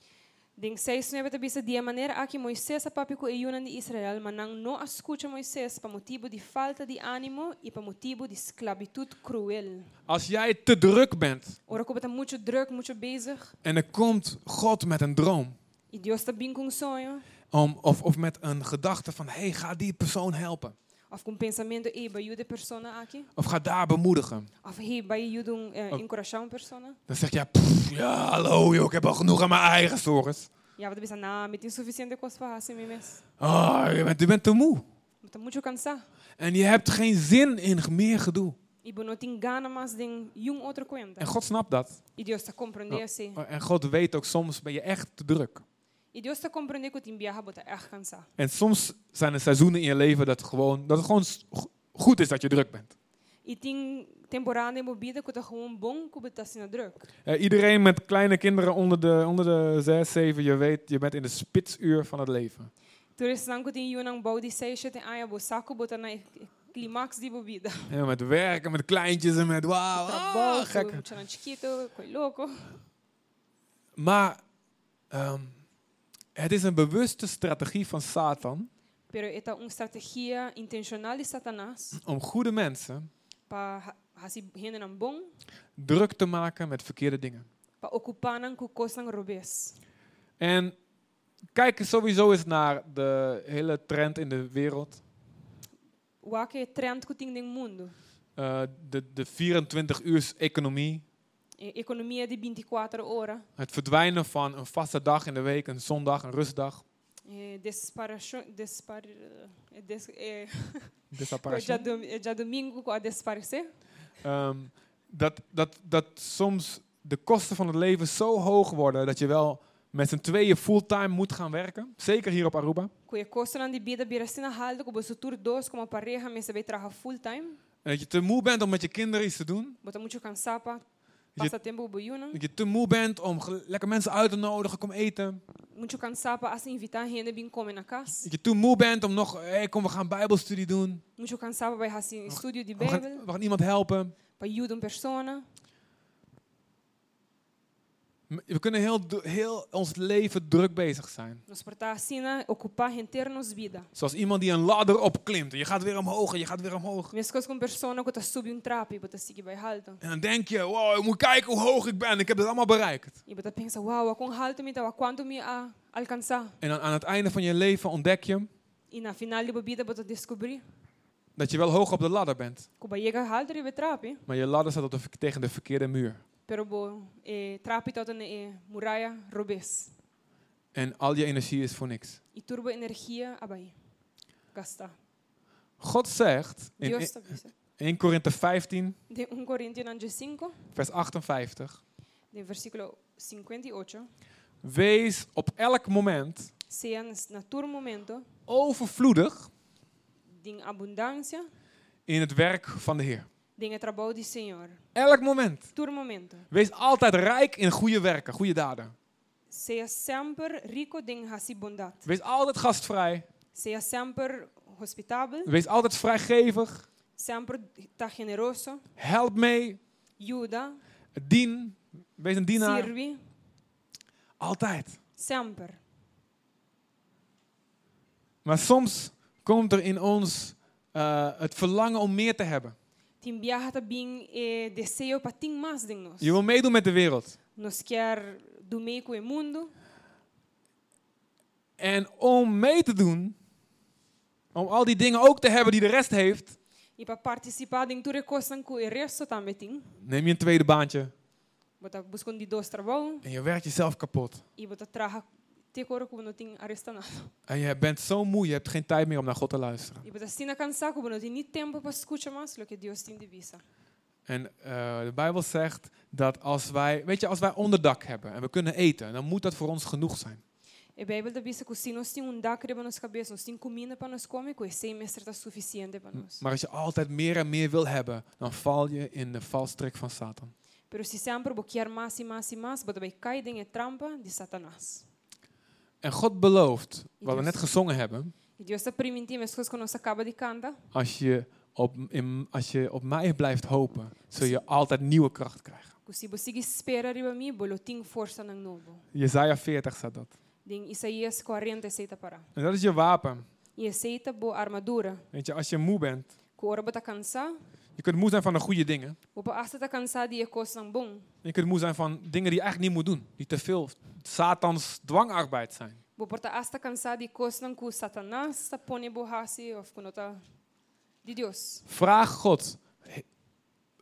Ding 6:9 të bisa dia maneira a que Moisés apapi ku e juna di Israel, manang no ascucha Moisés pa motivo di falta di animo e pa motivo di esclavitud cruel.
Als jij te druk bent
Ora ku beta muito druk, muito bezig,
en er komt God met een droom.
e Dios ta bin com sonho,
Om, of, of met een gedachte van, hé, hey, ga die persoon helpen.
of com pensamento e ba ajuda persona aqui,
Of ga daar bemoedigen.
of he ba ajuda um eh, encorajar uma persona.
Dan zeg je, "Pff, ja, hallo joh, ik heb al genoeg aan mijn eigen zorgen.
Ja, wat bisa na, met insuficiente coisa para assim mesmo.
Oh, je bent, je bent te moe.
Beta muito cansar.
En je hebt geen zin in meer gedoe.
E bo não tem gana mais de um outro cuenta.
En God snapt dat.
E Dios ta compreende assim.
En God weet ook, soms ben je echt te druk.
E Dios ta compreende que tem viaja bota echt cansar.
En soms zijn er seizoenen in je leven dat, gewoon, dat het gewoon s- go- goed is dat je druk bent.
E tem temporada envolvida que tá gewoon bom que tá sendo druk.
Eh, iedereen met kleine kinderen onder de, onder de 6, 7, je weet, je bent in de spitsuur van het leven.
Tu restan que tem um bom de seis sete anos, bo saco bota na e climax de bebida.
Ja, met werken, met kleintjes en met wauw,
Tá
ah,
bom,
gek.
muito na chiquito, coi louco.
Maar ehm, het is een bewuste strategie van Satan
Pero eta uma estratégia intencional de Satanás
om goede mensen
para hasi hende nan bom,
druk te maken met verkeerde dingen.
para ocupar nan ku kos nan robes.
En kijk sowieso eens naar de hele trend in de wereld.
O que é trend que tem no mundo?
Eh, de de 24-uurs-economie.
E- Economia de 24 horas,
Het verdwijnen van een vaste dag in de week, een zondag, een rustdag.
eh, desparação, despar, eh, des, eh, já,
Desaparition.
dom, eh, já domingo com a desaparecer.
Ehm, dat, dat, dat soms de kosten van het leven zo hoog worden dat je wel met z'n tweeën fulltime moet gaan werken. Zeker hier op Aruba.
Com a costa de vida vira assim é na halda, com o futuro dois, com a pareja, me sabe trabalhar full time.
En dat je te moe bent om met je kinderen iets te doen.
Bota muito cansapa,
Je-
passa tempo né? boiuna.
Dat je te moe bent om ge- lekker mensen uit te nodigen, kom eten.
Muito cansapa, assim invitar gente bem comer na casa.
Dat je te moe bent om nog, hey, kom we gaan bijbelstudie doen.
Muito cansapa, vai assim estúdio de
We gaan,
Bijbel,
we gaan iemand helpen.
para ajudar uma persona.
M- We kunnen heel, dru- heel ons leven druk bezig zijn.
Nos portar assim, né, ocupar gente nos vida.
Zoals iemand die een ladder opklimt. En je gaat weer omhoog en je gaat weer omhoog.
Minhas coisas com persona, que tá subi um trapo, bota seguir vai halda.
En dan denk je, wow, ik moet kijken hoe hoog ik ben. Ik heb dat allemaal bereikt.
E bota pensa, uau, wow, com halto me dá, quanto me a alcançar.
En dan aan het einde van je leven ontdek je
E na final de bebida, bota descobrir,
dat je wel hoog op de ladder bent.
que vai chegar halda e vai trapo.
Maar je ladder staat op de ver- tegen de verkeerde muur.
Pero bo, eh, trapi tot een eh, muralla robes.
En al je energie is voor niks.
E turbo energia abai. Gasta.
God zegt in
Dios
e-
te avisa.
1 Korinthe 15,
De 1 Corinthians 5,
vers 58.
de versículo 58.
Wees op elk moment
Sean na tur momento
overvloedig
din abundância
in het werk van de Heer.
din het trabalho do Senhor.
Elk moment.
Tur momento.
Wees altijd rijk in goede werken, goede daden.
Seja sempre rico din hasi bondad.
Wees altijd gastvrij.
Seja sempre hospitabil,
Wees altijd vrijgevig.
sempre ta generoso,
Help mee.
ajuda,
Dien. Wees een dienaar.
sirvi,
Altijd.
sempre.
Maar soms komt er in ons eh, het verlangen om meer te hebben.
Timbiarra também é desejo para ter mais de nós.
Je wil meedoen met de wereld.
Nós quer do meio com o mundo
En om mee te doen, om al die dingen ook te hebben die de rest heeft,
e para participar de tudo coisa que o resto também tem.
neem je een tweede baantje
Bota buscando de dois trabalhos
en je werkt jezelf kapot.
e tá bota traga te coro como não tem arrestanado.
En je bent zo moe, je hebt geen tijd meer om naar God te luisteren.
E tá bota sina cansar como não tem nem tempo para escutar mais o que Deus tem de vista.
En eh, de Bijbel zegt dat als wij, weet je, als wij onderdak hebben en we kunnen eten, dan moet dat voor ons genoeg zijn.
E a Bíblia diz que se nós temos um dacre para nossa cabeça, nós temos comida para nós comer, que esse mestre está suficiente para nós.
Maar als je altijd meer en meer wil hebben, dan val je in de valstrik van Satan.
Mas se sempre boquear mais e mais e mais, bota vai cair em trampa de Satanás.
En God belooft, wat we
Dus-
net gezongen hebben,
E Deus está permitindo as coisas que nós acaba de cantar.
als je op, in- als je op mij blijft hopen, zul je altijd nieuwe kracht krijgen.
Que se você espera riba mim, bolo tem força nang novo.
Jezaja 40 staat dat.
Din Isaías 40 aceita para.
En dat is je wapen.
E aceita boa armadura.
Weet je, als je moe bent,
Que ora bota cansar,
je kunt moe zijn van de goede dingen.
o pa asta tá cansar de coisas nang bom.
Je kunt moe zijn van dingen die je eigenlijk niet moet doen. Die te veel Satans dwangarbeid zijn.
Bo porta asta cansar de coisas nang que Satanás está pone borrasse ou que nota de Deus.
Vraag God, "He-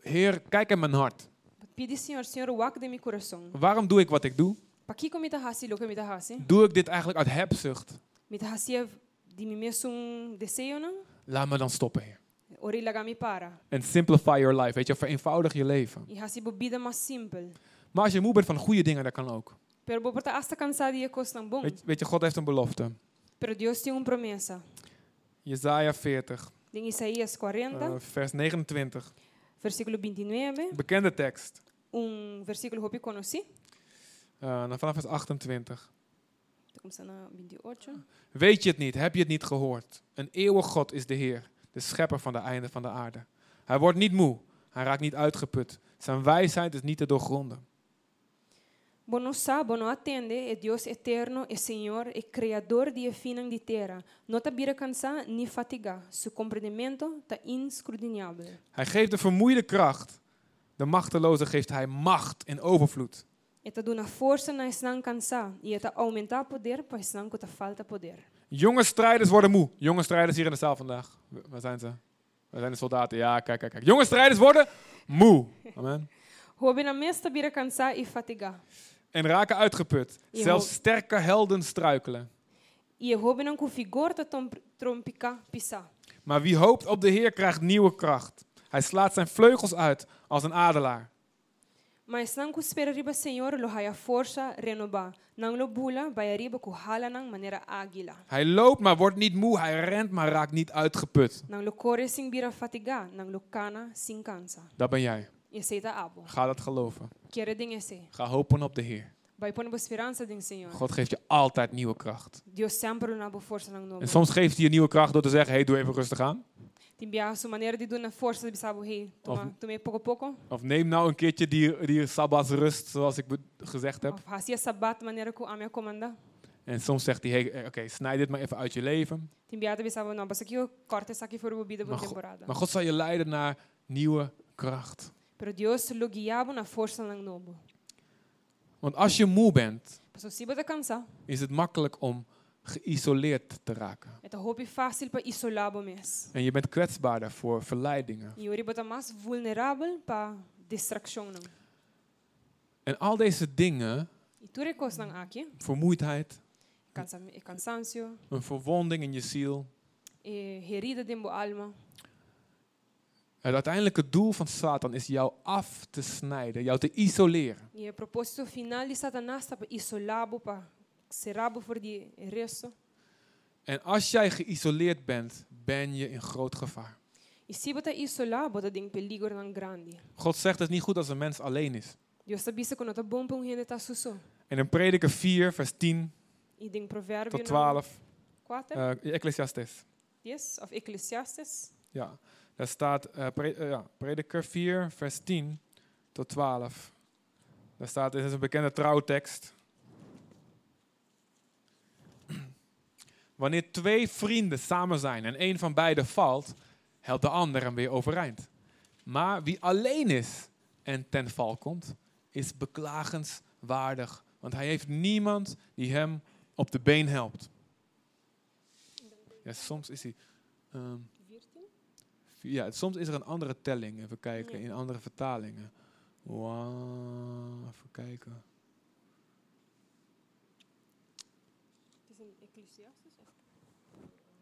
Heer, kijk in mijn hart.
Pede Senhor, Senhor, wak de meu coração.
Waarom doe ik wat ik doe?
Pa que comita hasi, lo que me hasi?
Doe ik dit eigenlijk uit hebzucht?
Me tá hasi de mim mesmo um desejo não?
Laat me dan stoppen, Heer.
Ori laga me para.
En simplify your life, weet je, vereenvoudig je leven.
E hasi bo bida mais simples.
Maar als je moe bent van goede dingen, dat kan ook.
Pero bo porta asta cansar de coisas nang bom.
Weet, weet je, God heeft een belofte.
Pero Deus tem uma promessa.
Jezaja 40,
Em Isaías 40,
eh, vers 29.
versículo 29,
Bekende tekst.
um versículo que eu conheci,
Eh, dan vanaf vers 28.
Tô começando na 28.
Weet je het niet? Heb je het niet gehoord? Een eeuwig God is de Heer, de schepper van de einden van de aarde. Hij wordt niet moe, hij raakt niet uitgeput. Zijn wijsheid is niet te doorgronden.
Bom, não sabe, não atende, é Deus eterno, é Senhor, é Criador de finan de terra. Não está vira cansar nem fatigar. Seu compreendimento está inscrutinável.
Hij geeft de vermoeide kracht, de machteloze geeft hij macht in overvloed.
Está dando força na não cansar e está aumentar poder para não que tá falta poder.
Jonge strijders worden moe. Jonge strijders hier in de zaal vandaag. W- Waar zijn ze? Waar zijn de soldaten? Ja, kijk, kijk, kijk. Jonge strijders worden moe. Amen.
Robin a mesta vira cansar e fatigar.
En raken uitgeput.
Je
Zelfs
hoort-
sterke helden struikelen.
E Robin não com vigor está trompicar pisar.
Maar wie hoopt op de Heer krijgt nieuwe kracht. Hij slaat zijn vleugels uit als een adelaar.
Mas não cuspera riba Senhor, lo haya força renovar. Não lo bula, vai riba cu hala nang maneira águila.
Hij loopt, maar wordt niet moe. Hij rent, maar raakt niet uitgeput.
Não lo corre sem bira fatigar, não lo cana sem cansa.
Dat ben jij.
E aceita abo.
Ga dat geloven.
Quer den esse.
Ga hopen op de Heer.
Vai pôr uma esperança den Senhor.
God geeft je altijd nieuwe kracht.
Deus sempre na bo força nang novo.
En soms geeft hij je nieuwe kracht door te zeggen: hey, doe even rustig aan.
Timbia sua maneira de dona força de sabo rei. Toma,
Of-
tome pouco a pouco.
Of neem nou een keertje die, die sabbatsrust, zoals ik be- gezegd heb.
Of hasia sabat maneira cu a minha comanda.
En soms zegt hij: hey, eh, oké, snij dit maar even uit je leven.
Timbia de sabo não, basta que eu corte essa aqui for bebida boa
Maar, Go-
temporada.
maar God zal je leiden naar nieuwe kracht.
Pero Deus lo guiava na força nang novo.
Want als je moe bent,
Passou se bota cansar.
is het makkelijk om geïsoleerd te raken.
Het is hobby fácil para isolar bomes.
En je bent kwetsbaarder voor verleidingen.
E ori bota mais vulnerável para distração não.
En al deze dingen,
E tu recos não aqui,
vermoeidheid,
cansa e cansancio,
een verwonding in je ziel,
e herida de minha alma.
het uiteindelijke doel van Satan is jou af te snijden, jou te isoleren.
E o propósito final de Satanás está para isolar para serabo for de resto.
En als jij geïsoleerd bent, ben je in groot gevaar.
E se bota isolar, bota de peligro não grande.
God zegt het is niet goed als een mens alleen is.
Deus sabe se quando tá bom para um rende tá susso.
En in Prediker 4, vers 10
E de provérbio
tot 12,
4,
eh Ecclesiastes.
10 of Eclesiastes.
Ja, daar staat eh, pre- eh, ja, Prediker 4, vers 10 tot 12. Daar staat, dit is een bekende trouwtekst. Wanneer twee vrienden samen zijn en één van beiden valt, helpt de ander hem weer overeind. Maar wie alleen is en ten val komt, is beklagenswaardig, want hij heeft niemand die hem op de been helpt. Ja, soms is hij. ehm, ja, soms is er een andere telling. Even kijken,
Ja.
in andere vertalingen. Wow, even kijken.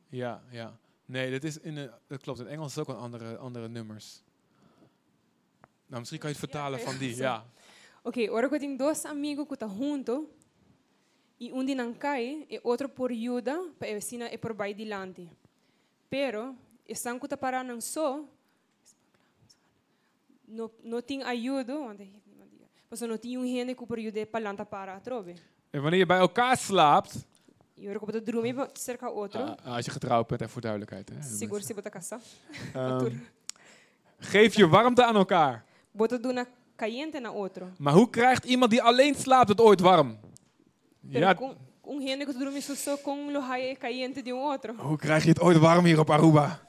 Ja, ja. Nee, dat, is in, eh, dat klopt. In Engels is het ook een andere, andere nummers. Nou, misschien kan je het
Ja,
vertalen
oké,
van die.
zo.
Ja.
Ok, ora que eu tenho dois amigos que estão juntos, e um de não cai, e outro por ajuda, para a vecina e por vai adiante. Pero, estão que para não só, não, não tem ajuda, mas não tem um gene que por ajuda para lá para a trove.
En wanneer je bij elkaar slaapt,
E ora que eu estou dormindo cerca outro,
Ah, ah, als je getrouwd bent, even voor duidelijkheid. Hè,
seguro se botar caça.
Ehm,
cultuur.
geef je warmte aan elkaar.
Bota de uma caiente na outro.
Maar hoe krijgt iemand die alleen slaapt het ooit warm?
Pero
Ja,
com, um gene que dorme só com o raio caiente de um outro.
hoe krijg je het ooit warm hier op Aruba?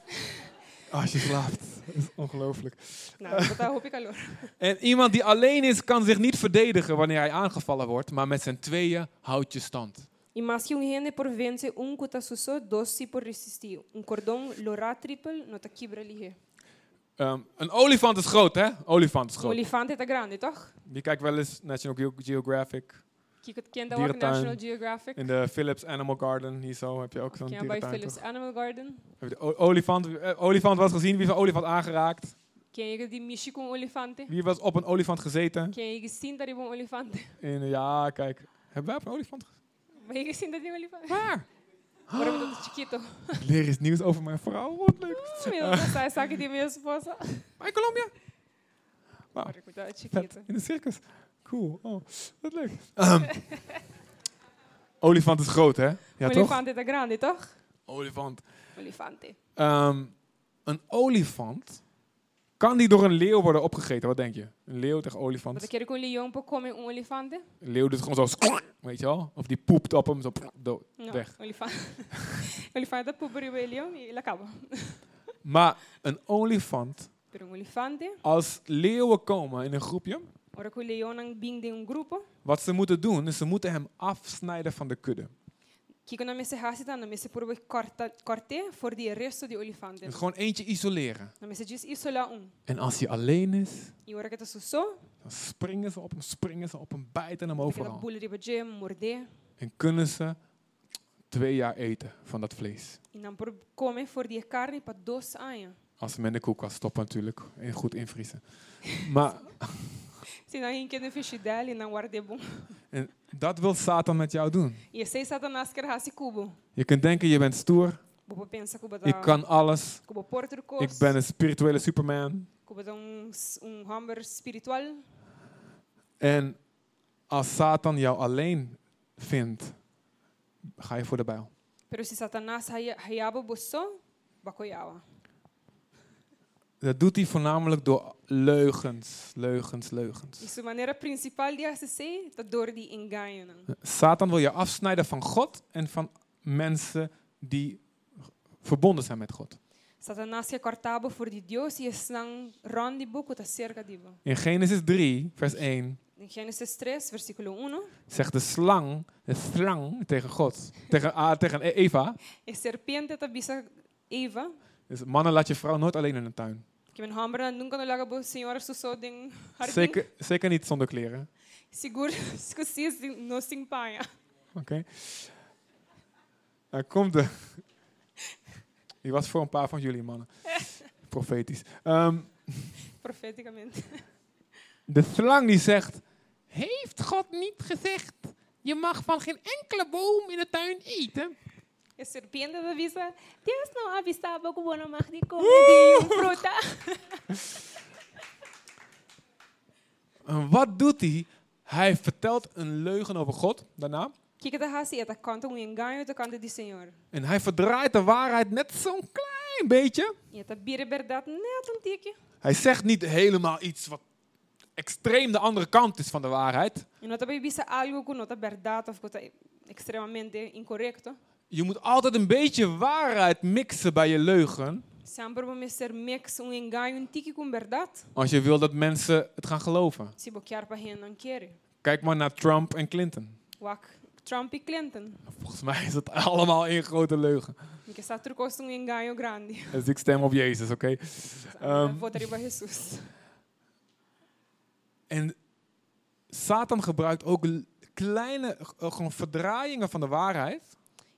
Ah, Als je slaapt. Dat is ongelooflijk.
Não, botar roupa e calor.
En iemand die alleen is, kan zich niet verdedigen wanneer hij aangevallen wordt, maar met zijn tweeën houdt je stand.
E mais que um rende por vence, um cuta susso, dois se por resistir. Um cordão lorá triple, não tá quebra ali.
Ehm, een olifant is groot, hè? Olifant is
Um
groot.
elefante tá grande, toch?
Je kijkt wel eens National Geo- Geographic.
Que quem dá o
Dierentuin.
National Geographic,
In de Philips Animal Garden, hier zo, heb je ook zo'n
quem vai
dierentuin.
Phillips
toch?
Animal Garden,
Heb je de o- olifant, eh, olifant was gezien, wie heeft een olifant aangeraakt?
quem é de mexe com um elefante,
Wie was op een olifant gezeten?
quem é que sinta de um elefante,
In, eh, ja, kijk. Hebben wij op een olifant gezeten?
vai que sinta de um elefante.
Waar?
Agora eu tô chiquito.
Ik leer eens nieuws over mijn vrouw, wat leuk.
Meu Deus, sai, sai de minha esposa.
Maar in Colombia?
Agora eu tô
Vet,
chiquito.
in de circus. Cool. Oh, wat leuk. Ahem. Olifant is groot, hè? Ja,
Um
toch?
elefante tá grande, toch?
Olifant.
Um elefante.
Ehm, een olifant, kan die door een leeuw worden opgegeten? Wat denk je? Een leeuw tegen
Mas eu
olifant.
quero que um leão para comer um elefante.
Een leeuw doet gewoon zo, weet je wel? Of die poept op hem, zo dood.
Não,
Weg.
um elefante. Um elefante é pobre, o leão, e ele acaba.
Maar een olifant,
Pero um elefante
als leeuwen komen in een groepje,
Ora que o leão não vem de um grupo,
wat ze moeten doen, is ze moeten hem afsnijden van de kudde.
que quando me se rasita, não me se por corta, corte, for de resto de elefante.
Dus gewoon eentje isoleren.
Não me se diz isso lá um.
En als hij alleen is,
E ora que tá sussou,
dan springen ze op hem, springen ze op hem, bijten hem
que tá
overal.
bula de bagé, morder,
En kunnen ze twee jaar eten van dat vlees.
e não por comer for de carne para dois anos.
Als ze hem in de koelkast stoppen natuurlijk. En goed invriezen. Maar
Se não em que não fiz dele, não guarde bom.
en dat wil Satan met jou doen.
E esse é satanás que rasse cubo.
Je kunt denken, je bent stoer.
Bobo pensa cubo
Ik
da...
kan alles.
Cubo porto do
Ik
cos,
ben een spirituele superman.
cubo da um, um homem espiritual.
En als Satan jou alleen vindt, ga je voor de bijl.
Pero se satanás haya- haiaba bossou, bacoiava.
Dat doet hij voornamelijk door leugens, leugens, leugens.
E sua maneira principal de acessar, tá dor de engaio. Não.
Satan wil je afsnijden van God en van mensen die verbonden zijn met God.
Satanás que cortava por de Deus e estão rondo boco da cerca de bo.
In Genesis 3, vers 1,
Em Gênesis 3, versículo 1,
zegt de slang, de slang tegen God, tegen, ah, tegen E- Eva,
a serpente da bisa Eva,
dus mannen laat je vrouw nooit alleen in de tuin.
que men hambra nunca no laga bo senhora susso den jardim.
Zeker, zeker niet zonder kleren.
Seguro que se não se empanha.
Oké. Daar komt de... Die was voor een paar van jullie mannen. Profetisch. Ehm,
Profeticamente.
De slang die zegt: Heeft God niet gezegd: Je mag van geen enkele boom in de tuin eten?
A serpente da bisa, Deus não avisava que o bono mais de comer de fruta.
En wat doet hij? Hij vertelt een leugen over God daarna.
Que que tá raci? Ela canta um engaio, tá canta de senhor.
En hij verdraait de waarheid net zo'n klein beetje.
E ela bira verdade net um tique.
Hij zegt niet helemaal iets wat extreem de andere kant is van de waarheid.
E não tá bisa algo que não tá verdade, ou que tá extremamente incorreto.
Je moet altijd een beetje waarheid mixen bij je leugen.
Sempre vou meter mix um engaio um tique com verdade.
Als je wil dat mensen het gaan geloven.
Se boquear para hen não quer.
Kijk maar naar Trump en Clinton.
Wak Trump e Clinton.
Volgens mij is het allemaal één grote leugen.
Me que está trucosto um engaio grande.
Dus ik stem op Jezus, oké? Ehm.
Votaria para Jesus.
En Satan gebruikt ook l- kleine eh, gewoon verdraaiingen van de waarheid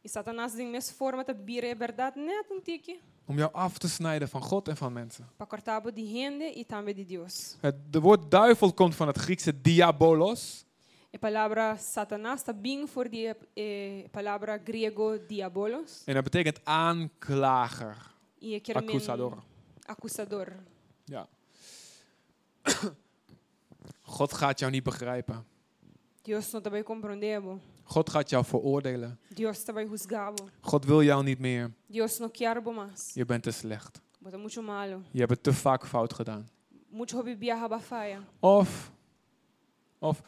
E Satanás tem mesma forma de bira a verdade net um tique.
om jou af te snijden van God en van mensen.
Para cortar de rende e também de Deus.
Het de woord duivel komt van het Griekse diabolos.
A palavra Satanás está bem for de eh, palavra grego diabolos.
En dat betekent aanklager,
E é aquele
acusador.
Acusador.
Ja. God gaat jou niet begrijpen.
Deus não também compreendeu.
God gaat jou veroordelen.
Deus também juzgava.
God wil jou niet meer.
Deus não quer bo mais.
Je bent te slecht.
Bota muito malo.
Je hebt het te vaak fout gedaan.
Muito bebia rabafaia.
Of, of,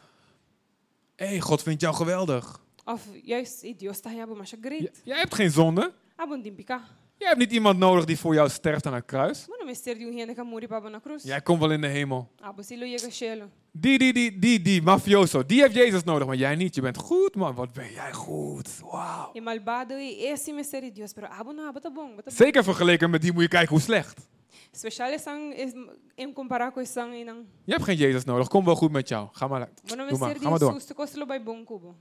hé, hey, God vindt jou geweldig.
Of juist, eh, Deus está bo mas
J-
great.
jij hebt geen zonde.
Abundim picar.
Jij hebt niet iemand nodig die voor jou sterft aan het kruis.
Mano, mister de um rende que morre para na cruz.
Jij komt wel in de hemel.
Abo se lo chega chelo.
Die, die, die, die, die, mafioso. Die heeft Jezus nodig, maar jij niet. Je bent goed, man. Wat ben jij goed. Wauw.
E malvado e esse mister de Deus, pero abo não, abo tá bom, abo tá bom.
Zeker vergeleken met die moet je kijken hoe slecht.
Especial é sang es- em comparar com sang e não.
Je hebt geen Jezus nodig. Kom wel goed met jou. Ga maar,
Mano,
doe maar.
mister
Ga maar
de
door.
Jesus, tu costa lo vai bom cubo.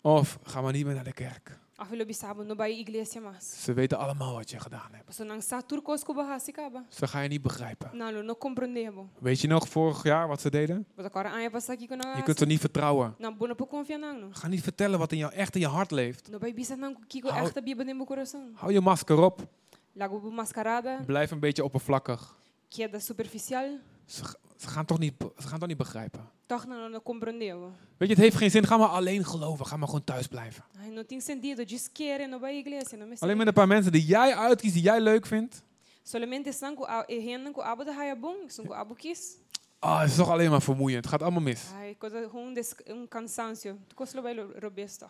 Of ga maar niet meer naar de kerk.
Af Ah, lo bisabo no vai igreja mas.
Ze weten allemaal wat je gedaan hebt.
Posso não sa turcos cubo hasikaba.
Ze gaan je niet begrijpen.
Não, não compreendebo.
Weet je nog vorig jaar wat ze deden?
Mas agora ai passa aqui com
Je
a
kunt ze niet vertrouwen.
Não, bom, não pode confiar não.
Ga niet vertellen wat in jou, echt in je hart leeft.
Não vai bisa não kiko
Hou-
esta bíblia no meu coração.
Hou je masker op.
Lago bo mascarada,
Blijf een beetje oppervlakkig.
queda superficial.
Ze, g- ze, gaan toch niet, be- ze gaan toch niet begrijpen.
Toch não, não compreendebo.
Weet je, het heeft geen zin. Ga maar alleen geloven. Ga maar gewoon thuis blijven.
Ai, não tem sentido. Diz que era, não vai à igreja, não me
Alleen met een paar mensen die jij uitkiest, die jij leuk vindt.
Solamente são com a renda com abo da raia bom, são com abo quis.
Ah, het is toch alleen maar vermoeiend. Het gaat allemaal mis.
Ai, coisa um des um cansancio. Tu costa vai robusto.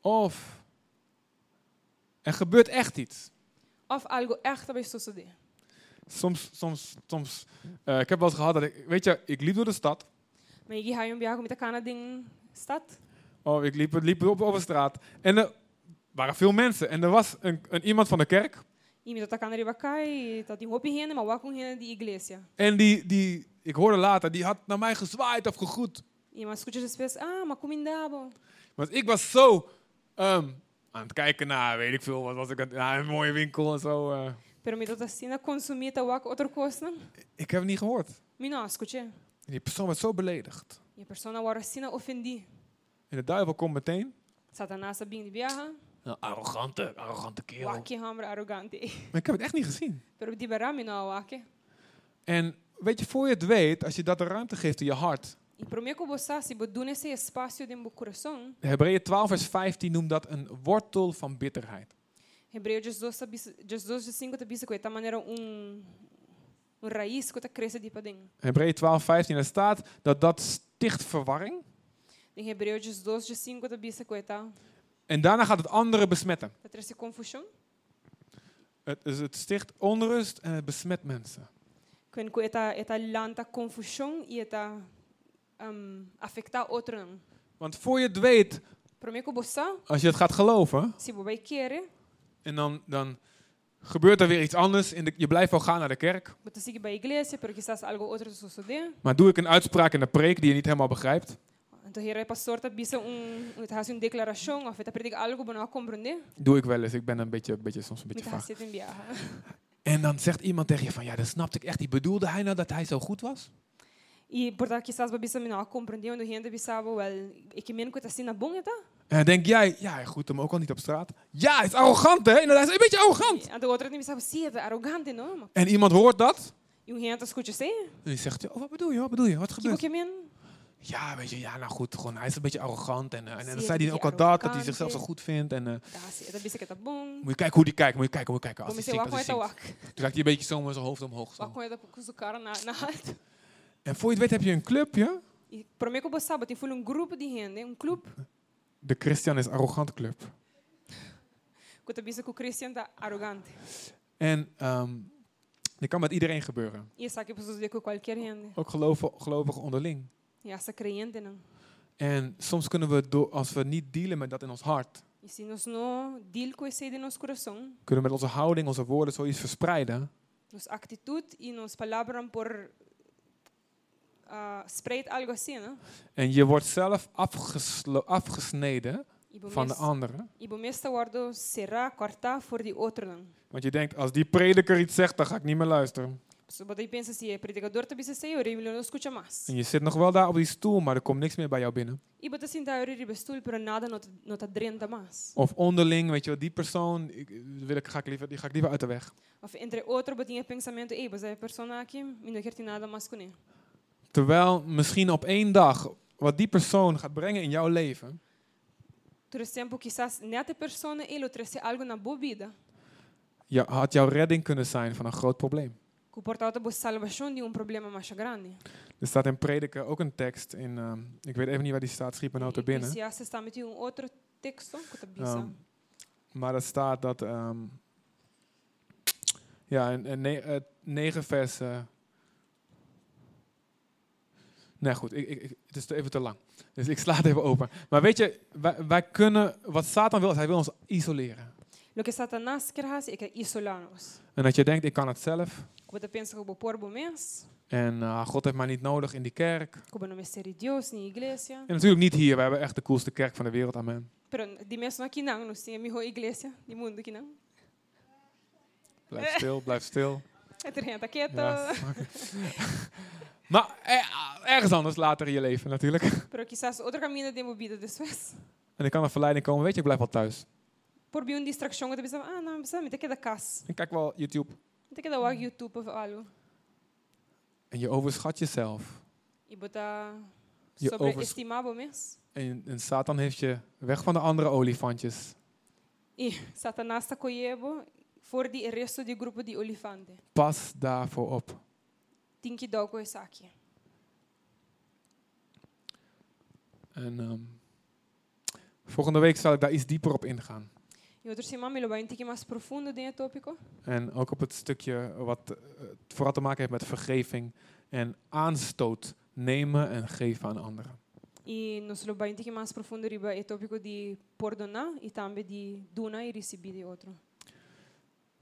Of er gebeurt echt iets.
Of algo echt vai suceder.
Soms, soms, soms. eh, ik heb wel eens gehad dat ik, weet je, ik liep door de stad.
Mas eu raio um viago met a cana ding stad.
Oh, ik liep, liep op, op een straat. En er waren veel mensen. En er was een, een, iemand van de kerk.
E me tá cana riba kai, tá tem hopi renda, mas wa com renda de igreja.
En die, die, ik hoorde later, die had naar mij gezwaaid of gegroet.
E mas escuta as pessoas, ah, mas comendabo.
Want ik was zo ehm, aan het kijken naar, weet ik veel, wat was ik aan, naar een mooie winkel en zo. eh.
Pero me tá assim na consumir tá wa outra coisa.
ik heb het niet gehoord.
Me não escute.
En die persoon werd zo beledigd.
E a pessoa wa racina ofendi.
En de duivel komt meteen.
Satanás bing de viaja,
Een arrogante, arrogante kerel.
wa que hamra arrogante.
Maar ik heb het echt niet gezien.
Pero di bara me não wa que.
En weet je, voor je het weet, als je dat de ruimte geeft in je hart.
E para mim, como você se botou nesse espaço dentro do meu coração,
Hebreeën 12 vers 15 noemt dat een wortel van bitterheid.
Hebreus 12, tá bis- 12 de 5 diz que da maneira um um raiz que tá cresce de padem.
Hebreeën 12 15, daar staat dat dat sticht verwarring.
Em Hebreus 12 de 5 diz que tá
En daarna gaat het andere besmetten.
tá cresce confusão.
Het, dus het sticht onrust en het besmet mensen.
Quando que tá tá lanta confusão e tá um, afetar outro não.
Want voor je het weet,
Para mim, como você
als je het gaat geloven,
se você quer,
en dan, dan gebeurt er weer iets anders. In de, je blijft wel gaan naar de kerk.
você se que vai à igreja, porque quizás algo outro suceder.
Maar doe ik een uitspraak in de preek die je niet helemaal begrijpt.
Então, o pastor tá bisa um, tá fazendo declaração, ou tá predica algo para não compreender,
Doe ik wel eens. Ik ben een beetje, een beetje, soms een beetje
mas tá
vaag.
se tem viagem.
En dan zegt iemand tegen je van, ja, dat snapte ik echt niet. Bedoelde hij nou dat hij zo goed was?
E portanto, quizás para bisa não compreendeu onde ainda bisava, well, e que menos que está sendo bom eta.
En dan denk jij, ja, hij groet hem ook al niet op straat. Ja, hij is arrogant, hè? Inderdaad, hij is een beetje arrogant.
A outra nem bisava, sim, é arrogante, não?
En iemand hoort dat.
E o renta escuta assim,
En die zegt, oh, wat bedoel je, wat bedoel je, wat
que o
gebeurt
que men?
Ja, weet je, ja, nou goed, gewoon, hij is een beetje arrogant. En, eh, en, en
Zie
dan
je
zei hij
dat
ook
hij
al dat, dat hij
arrogant
zichzelf zo
is?
goed vindt. En eh,
Tá, sim, é bisa que está bom.
moet je kijken hoe die kijkt, moet je kijken, moet je kijken. Als hij
Comecei
ziet,
lá
als hij
com esta
ziet.
wak.
Toen raakt hij een beetje zo met zijn hoofd omhoog.
Lá
Zo.
com esta com o cara na na alta.
En voor je het weet heb je een clubje.
E para mim que eu sabe, tem foi um grupo de renda, um clube,
De Christian is arrogant club.
Kota bisa ku Christian tá arrogante.
En ehm dit kan met iedereen gebeuren.
E essa aqui pessoas de ku qualquer gente.
Ook geloven, gelovigen onderling.
E essa crente não.
En soms kunnen we, door, als we niet dealen met dat in ons hart,
E se nós não deal com esse de nosso coração,
kunnen we met onze houding, onze woorden zoiets verspreiden.
nossa atitude e nossa palavra por uh, spread algo assim, né?
En je wordt zelf afgeslo- afgesneden
E
van de anderen.
E bom esta guardo será cortar for de outro não.
Want je denkt, als die prediker iets zegt, dan ga ik niet meer luisteren.
Você pode pensar se é predicador tá bisa sei, ori não escuta mais.
En je zit nog wel daar op die stoel, maar er komt niks meer bij jou binnen.
E assim, bota sentar ori bestul para nada não te- não tá drenta mais.
Of onderling, weet je wel, die persoon, ik, wil ik, ga ik liever, die ga ik liever uit de weg.
Of entre outro botinha pensamento, ei, mas é persona aqui, me não quer ter nada mais com ele.
Terwijl misschien op één dag, wat die persoon gaat brengen in jouw leven,
Três tempo quizás neta persona ele trouxe algo na boa vida,
jou- had jouw redding kunnen zijn van een groot probleem.
que portava boa salvação de um problema mais grande.
Er staat in Prediker ook een tekst in, ehm, ik weet even niet waar die staat, schiet me nou te binnen.
Se há está metido um outro texto, que tá bisa.
Ehm, maar dat staat dat, ehm, ja, in, in ne- eh, negen versen. Nee, goed, ik, ik, ik- het is te- even te lang. Dus ik sla het even open. Maar weet je, wij, wij kunnen, wat Satan wil, is hij wil ons isoleren.
Lo que Satanás quer fazer é que isolarmos.
En dat je denkt, ik kan het zelf.
Como tu pensa que eu vou pôr bom mês,
En ah, God heeft mij niet nodig in die kerk.
como não me ser Deus nem igreja,
En natuurlijk niet hier. We hebben echt de coolste kerk van de wereld. Amen.
pero de mesmo aqui não, não sei a melhor igreja do mundo que não.
Blijf stil, blijf stil.
É treinada quieto,
Ja, oké. maar eh, ergens anders later in je leven natuurlijk.
pero quizás outro caminho de movida depois.
En er kan een verleiding komen. Weet je, ik blijf wel thuis.
Por bem uma distração que tu pensa, ah, não, precisa me ter que dar casa,
Ik kijk wel YouTube.
me ter que dar o YouTube ou algo.
En je overschat jezelf.
E botar
Je
sobreestimar bom mês.
En, en Satan heeft je weg van de andere olifantjes.
E Satanás está coiebo, for de resto de grupo de olifante.
Pas daarvoor op.
Tem que dar coisa aqui.
En ehm, volgende week zal ik daar iets dieper op ingaan.
Em outro semana, me lo vai um pouquinho mais profundo dentro do tópico.
En ook op het stukje wat eh, vooral te maken heeft met vergeving. En aanstoot nemen en geven aan anderen.
E nós lo vai um pouquinho mais profundo riba o tópico de perdonar e também de donar e receber de outro.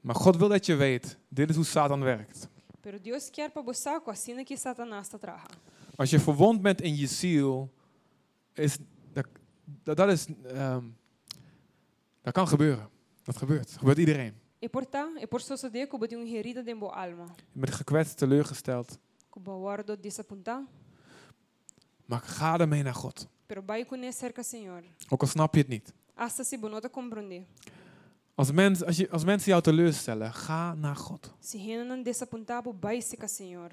Maar God wil dat je weet, dit is hoe Satan werkt.
Pero Deus quer para você com a sina que Satanás está traga.
Als je verwond bent in je ziel, is, dat, dat, dat is, ehm, dat kan gebeuren. Dat gebeurt. Dat gebeurt iedereen.
E por tá, e por sua de como de um herida de boa alma.
Je bent gekwetst, teleurgesteld.
Como o ordo desapontar,
Maar ga ermee naar God.
pero vai conhecer que Senhor.
Ook al snap je het niet.
Hasta se bonota compreender.
Als, mens, als, je, als mensen jou teleurstellen, ga naar God.
Se rena não desapontar, vai se que Senhor.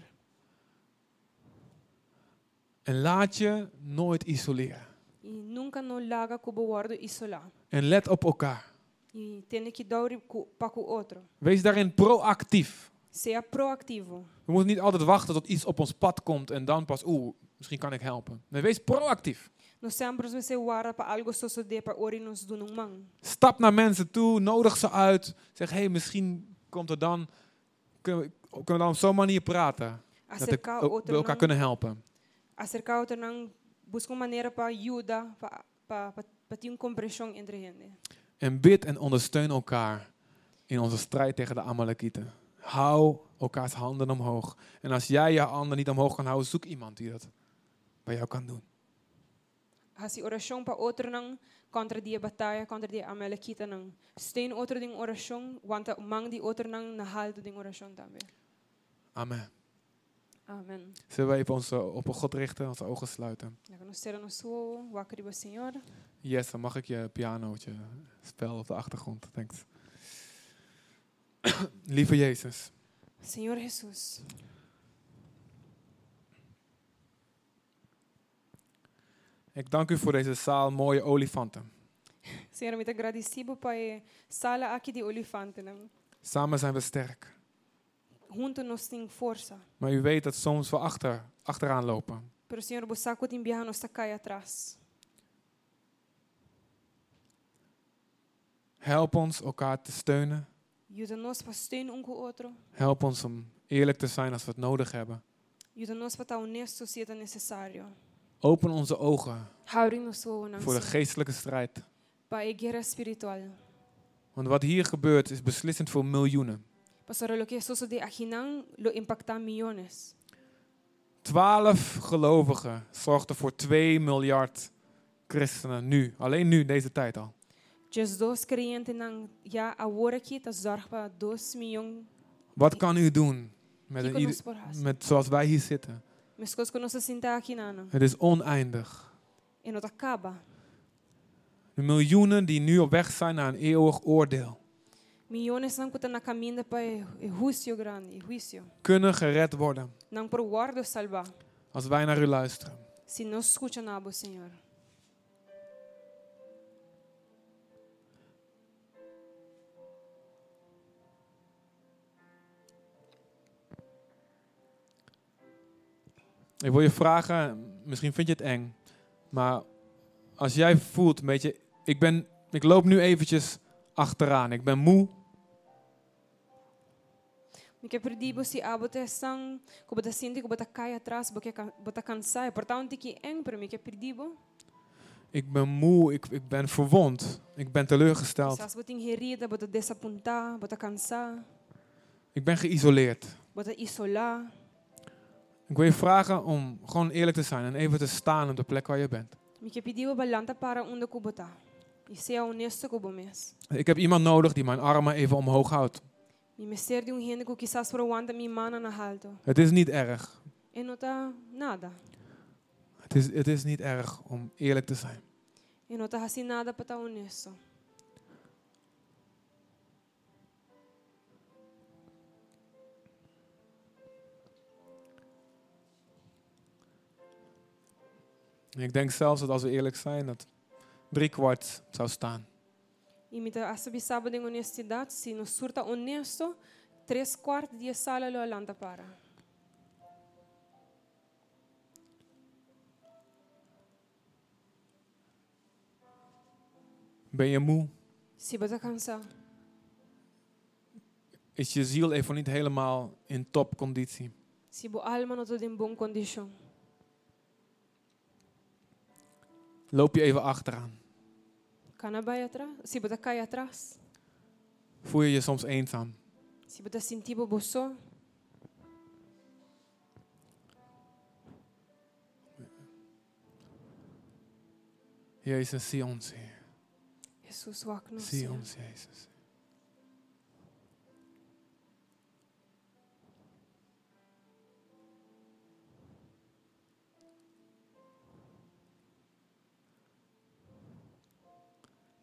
En laat je nooit isoleren.
E nunca não laga como o ordo isolar.
En let op elkaar.
E tem que dar para o outro.
Wees daarin proactief.
Seja proactivo.
We moeten niet altijd wachten tot iets op ons pad komt en dan pas, oeh, misschien kan ik helpen. Nee, wees proactief.
Nós sempre nos guarda para algo suceder para ori nos do um man.
Stap naar mensen toe, nodig ze uit. Zeg, hé, hey, misschien komt er dan... Kunnen we, kunnen we dan op zo'n manier praten? Dat ik,
Acercar
ook- we
outro
elkaar
não,
kunnen helpen.
acercar outro não, busca uma maneira para ajudar, para para para ter uma compreensão entre gente.
En bid en ondersteun elkaar in onze strijd tegen de Amalekieten. Hou elkaars handen omhoog. En als jij je handen niet omhoog kan houden, zoek iemand die dat bij jou kan doen.
Assim oração para outro não contra a batalha, contra a amalequita não. Stein outro de oração, wanta mang de outro não na haldo de oração também.
Amen.
Amém.
Zullen we even onze op God richten, onze ogen sluiten?
Agora nós seremos sua, o acredito Senhor.
Yes, dan mag ik je pianootje spel op de achtergrond. Thanks. Lieve Jezus.
Senhor Jesus,
Ik dank u voor deze zaal mooie olifanten.
Senhor, me te agradecido para sala aqui de olifante não.
Samen zijn we sterk.
Junto nós tem força.
Maar u weet dat soms we achter, achteraan lopen.
Pero Senhor, você sabe que tem birra nossa cai atrás.
Help ons elkaar te steunen.
Ajuda-nos para sustentar um com o outro.
Help ons om eerlijk te zijn als we het nodig hebben.
Ajuda-nos para estar honestos se é necessário.
Open onze ogen
Houdem-nos ao
voor de
nosso
geestelijke strijd.
para a guerra espiritual.
Want wat hier gebeurt is beslissend voor miljoenen.
Pastor, lo que isso de Ajinan lo impacta milhões.
Twaalf gelovigen zorgden voor 2 miljard christenen nu. Alleen nu, deze tijd al.
Just dois crentes não já agora aqui tá zorg para 2 milhões.
Wat kan u doen met,
Que
een ieder-
conosco por raça.
met zoals wij hier zitten?
Mas coisas que nós sinta aqui não.
Het is oneindig.
E não acaba.
De miljoenen die nu op weg zijn naar een eeuwig oordeel,
Milhões não que tá na caminho para o juízo grande, o juízo.
kunnen gered worden
Não por guardo salvar.
als wij naar u luisteren.
Se não escuta nada, Senhor.
Ik wil je vragen, misschien vind je het eng, maar als jij voelt, weet je, ik, ben, ik loop nu eventjes achteraan, ik ben moe,
Porque perdi você a botação, que bota sente que bota cai atrás, porque bota cansar. Portanto, que em para mim que perdi bo.
ik ben moe, ik, ik ben verwond, ik ben teleurgesteld,
Sas bota ingerida, bota desapontar, bota cansar,
ik ben geïsoleerd.
bota isolar.
Ik wil je vragen om gewoon eerlijk te zijn en even te staan op de plek waar je bent.
Me que pediu balanta para onde que bota. E seja honesto com mes.
Ik heb iemand nodig die mijn armen even omhoog houdt.
Me me ser de um gente que quizás por aguanta minha mana na alto.
Het is niet erg.
E não tá nada.
Het is, het is niet erg om eerlijk te zijn.
E não tá assim nada para estar honesto.
En ik denk zelfs dat als we eerlijk zijn, dat drie kwart zou staan.
E me tá a saber sábado em honestidade, se não surta honesto, três quartos de sala lo alanta para.
Ben je moe?
Se bota cansar.
Is je ziel even niet helemaal in topconditie?
Se bo alma não está em bom condição,
Loop je even achteraan?
canabai atrás, se bota cai atrás,
Voel je je soms eenzaam?
se bota sentir bo só,
Jezus, zie ons, Heer.
Jesus wak nos.
Zie ons, Jezus.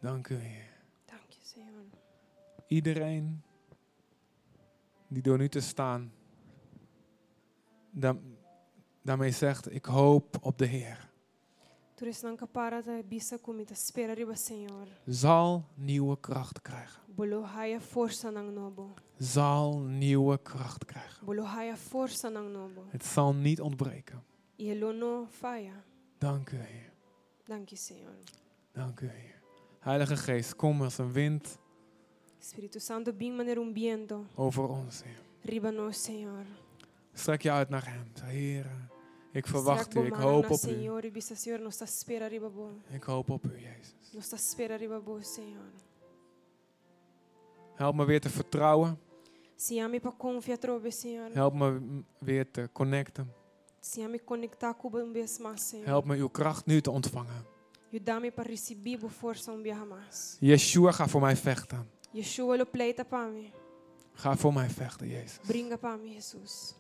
Dank u, Heer.
Dankie, Senhor.
iedereen die door nu te staan, da- daarmee zegt, ik hoop op de Heer,
Tu res não capara da bisa comida, espera riba, Senhor.
zal nieuwe kracht krijgen.
Bolo haia força nang nobo.
Zal nieuwe kracht krijgen.
Bolo haia força nang nobo.
Het zal niet ontbreken.
E ele não faia.
Dank u, Heer.
Dankie, Senhor.
Dank u, Heer. Heilige Geest, kom als een wind
Espírito Santo, bem maneira um viento,
over ons, Heer.
riba nós, Senhor.
Strek je uit naar Hem. Zeg, Heer, ik verwacht u, ik hoop op u.
Senhor, e bisa, Senhor, nós está espera riba bo.
Ik hoop op u, Jezus.
Nós está espera riba bo, Senhor.
Help me weer te vertrouwen.
Se ame para confiar trobe, Senhor.
Help me mm, weer te connecten.
Se me conectar com um vez mais, Senhor.
Help me uw kracht nu te ontvangen.
Ajuda-me para receber por força um vez mais.
Yeshua, ga voor mij vechten.
Yeshua, lo pleita para mim.
Ga voor mij vechten, Jezus.
Bringa para mim, Jesus.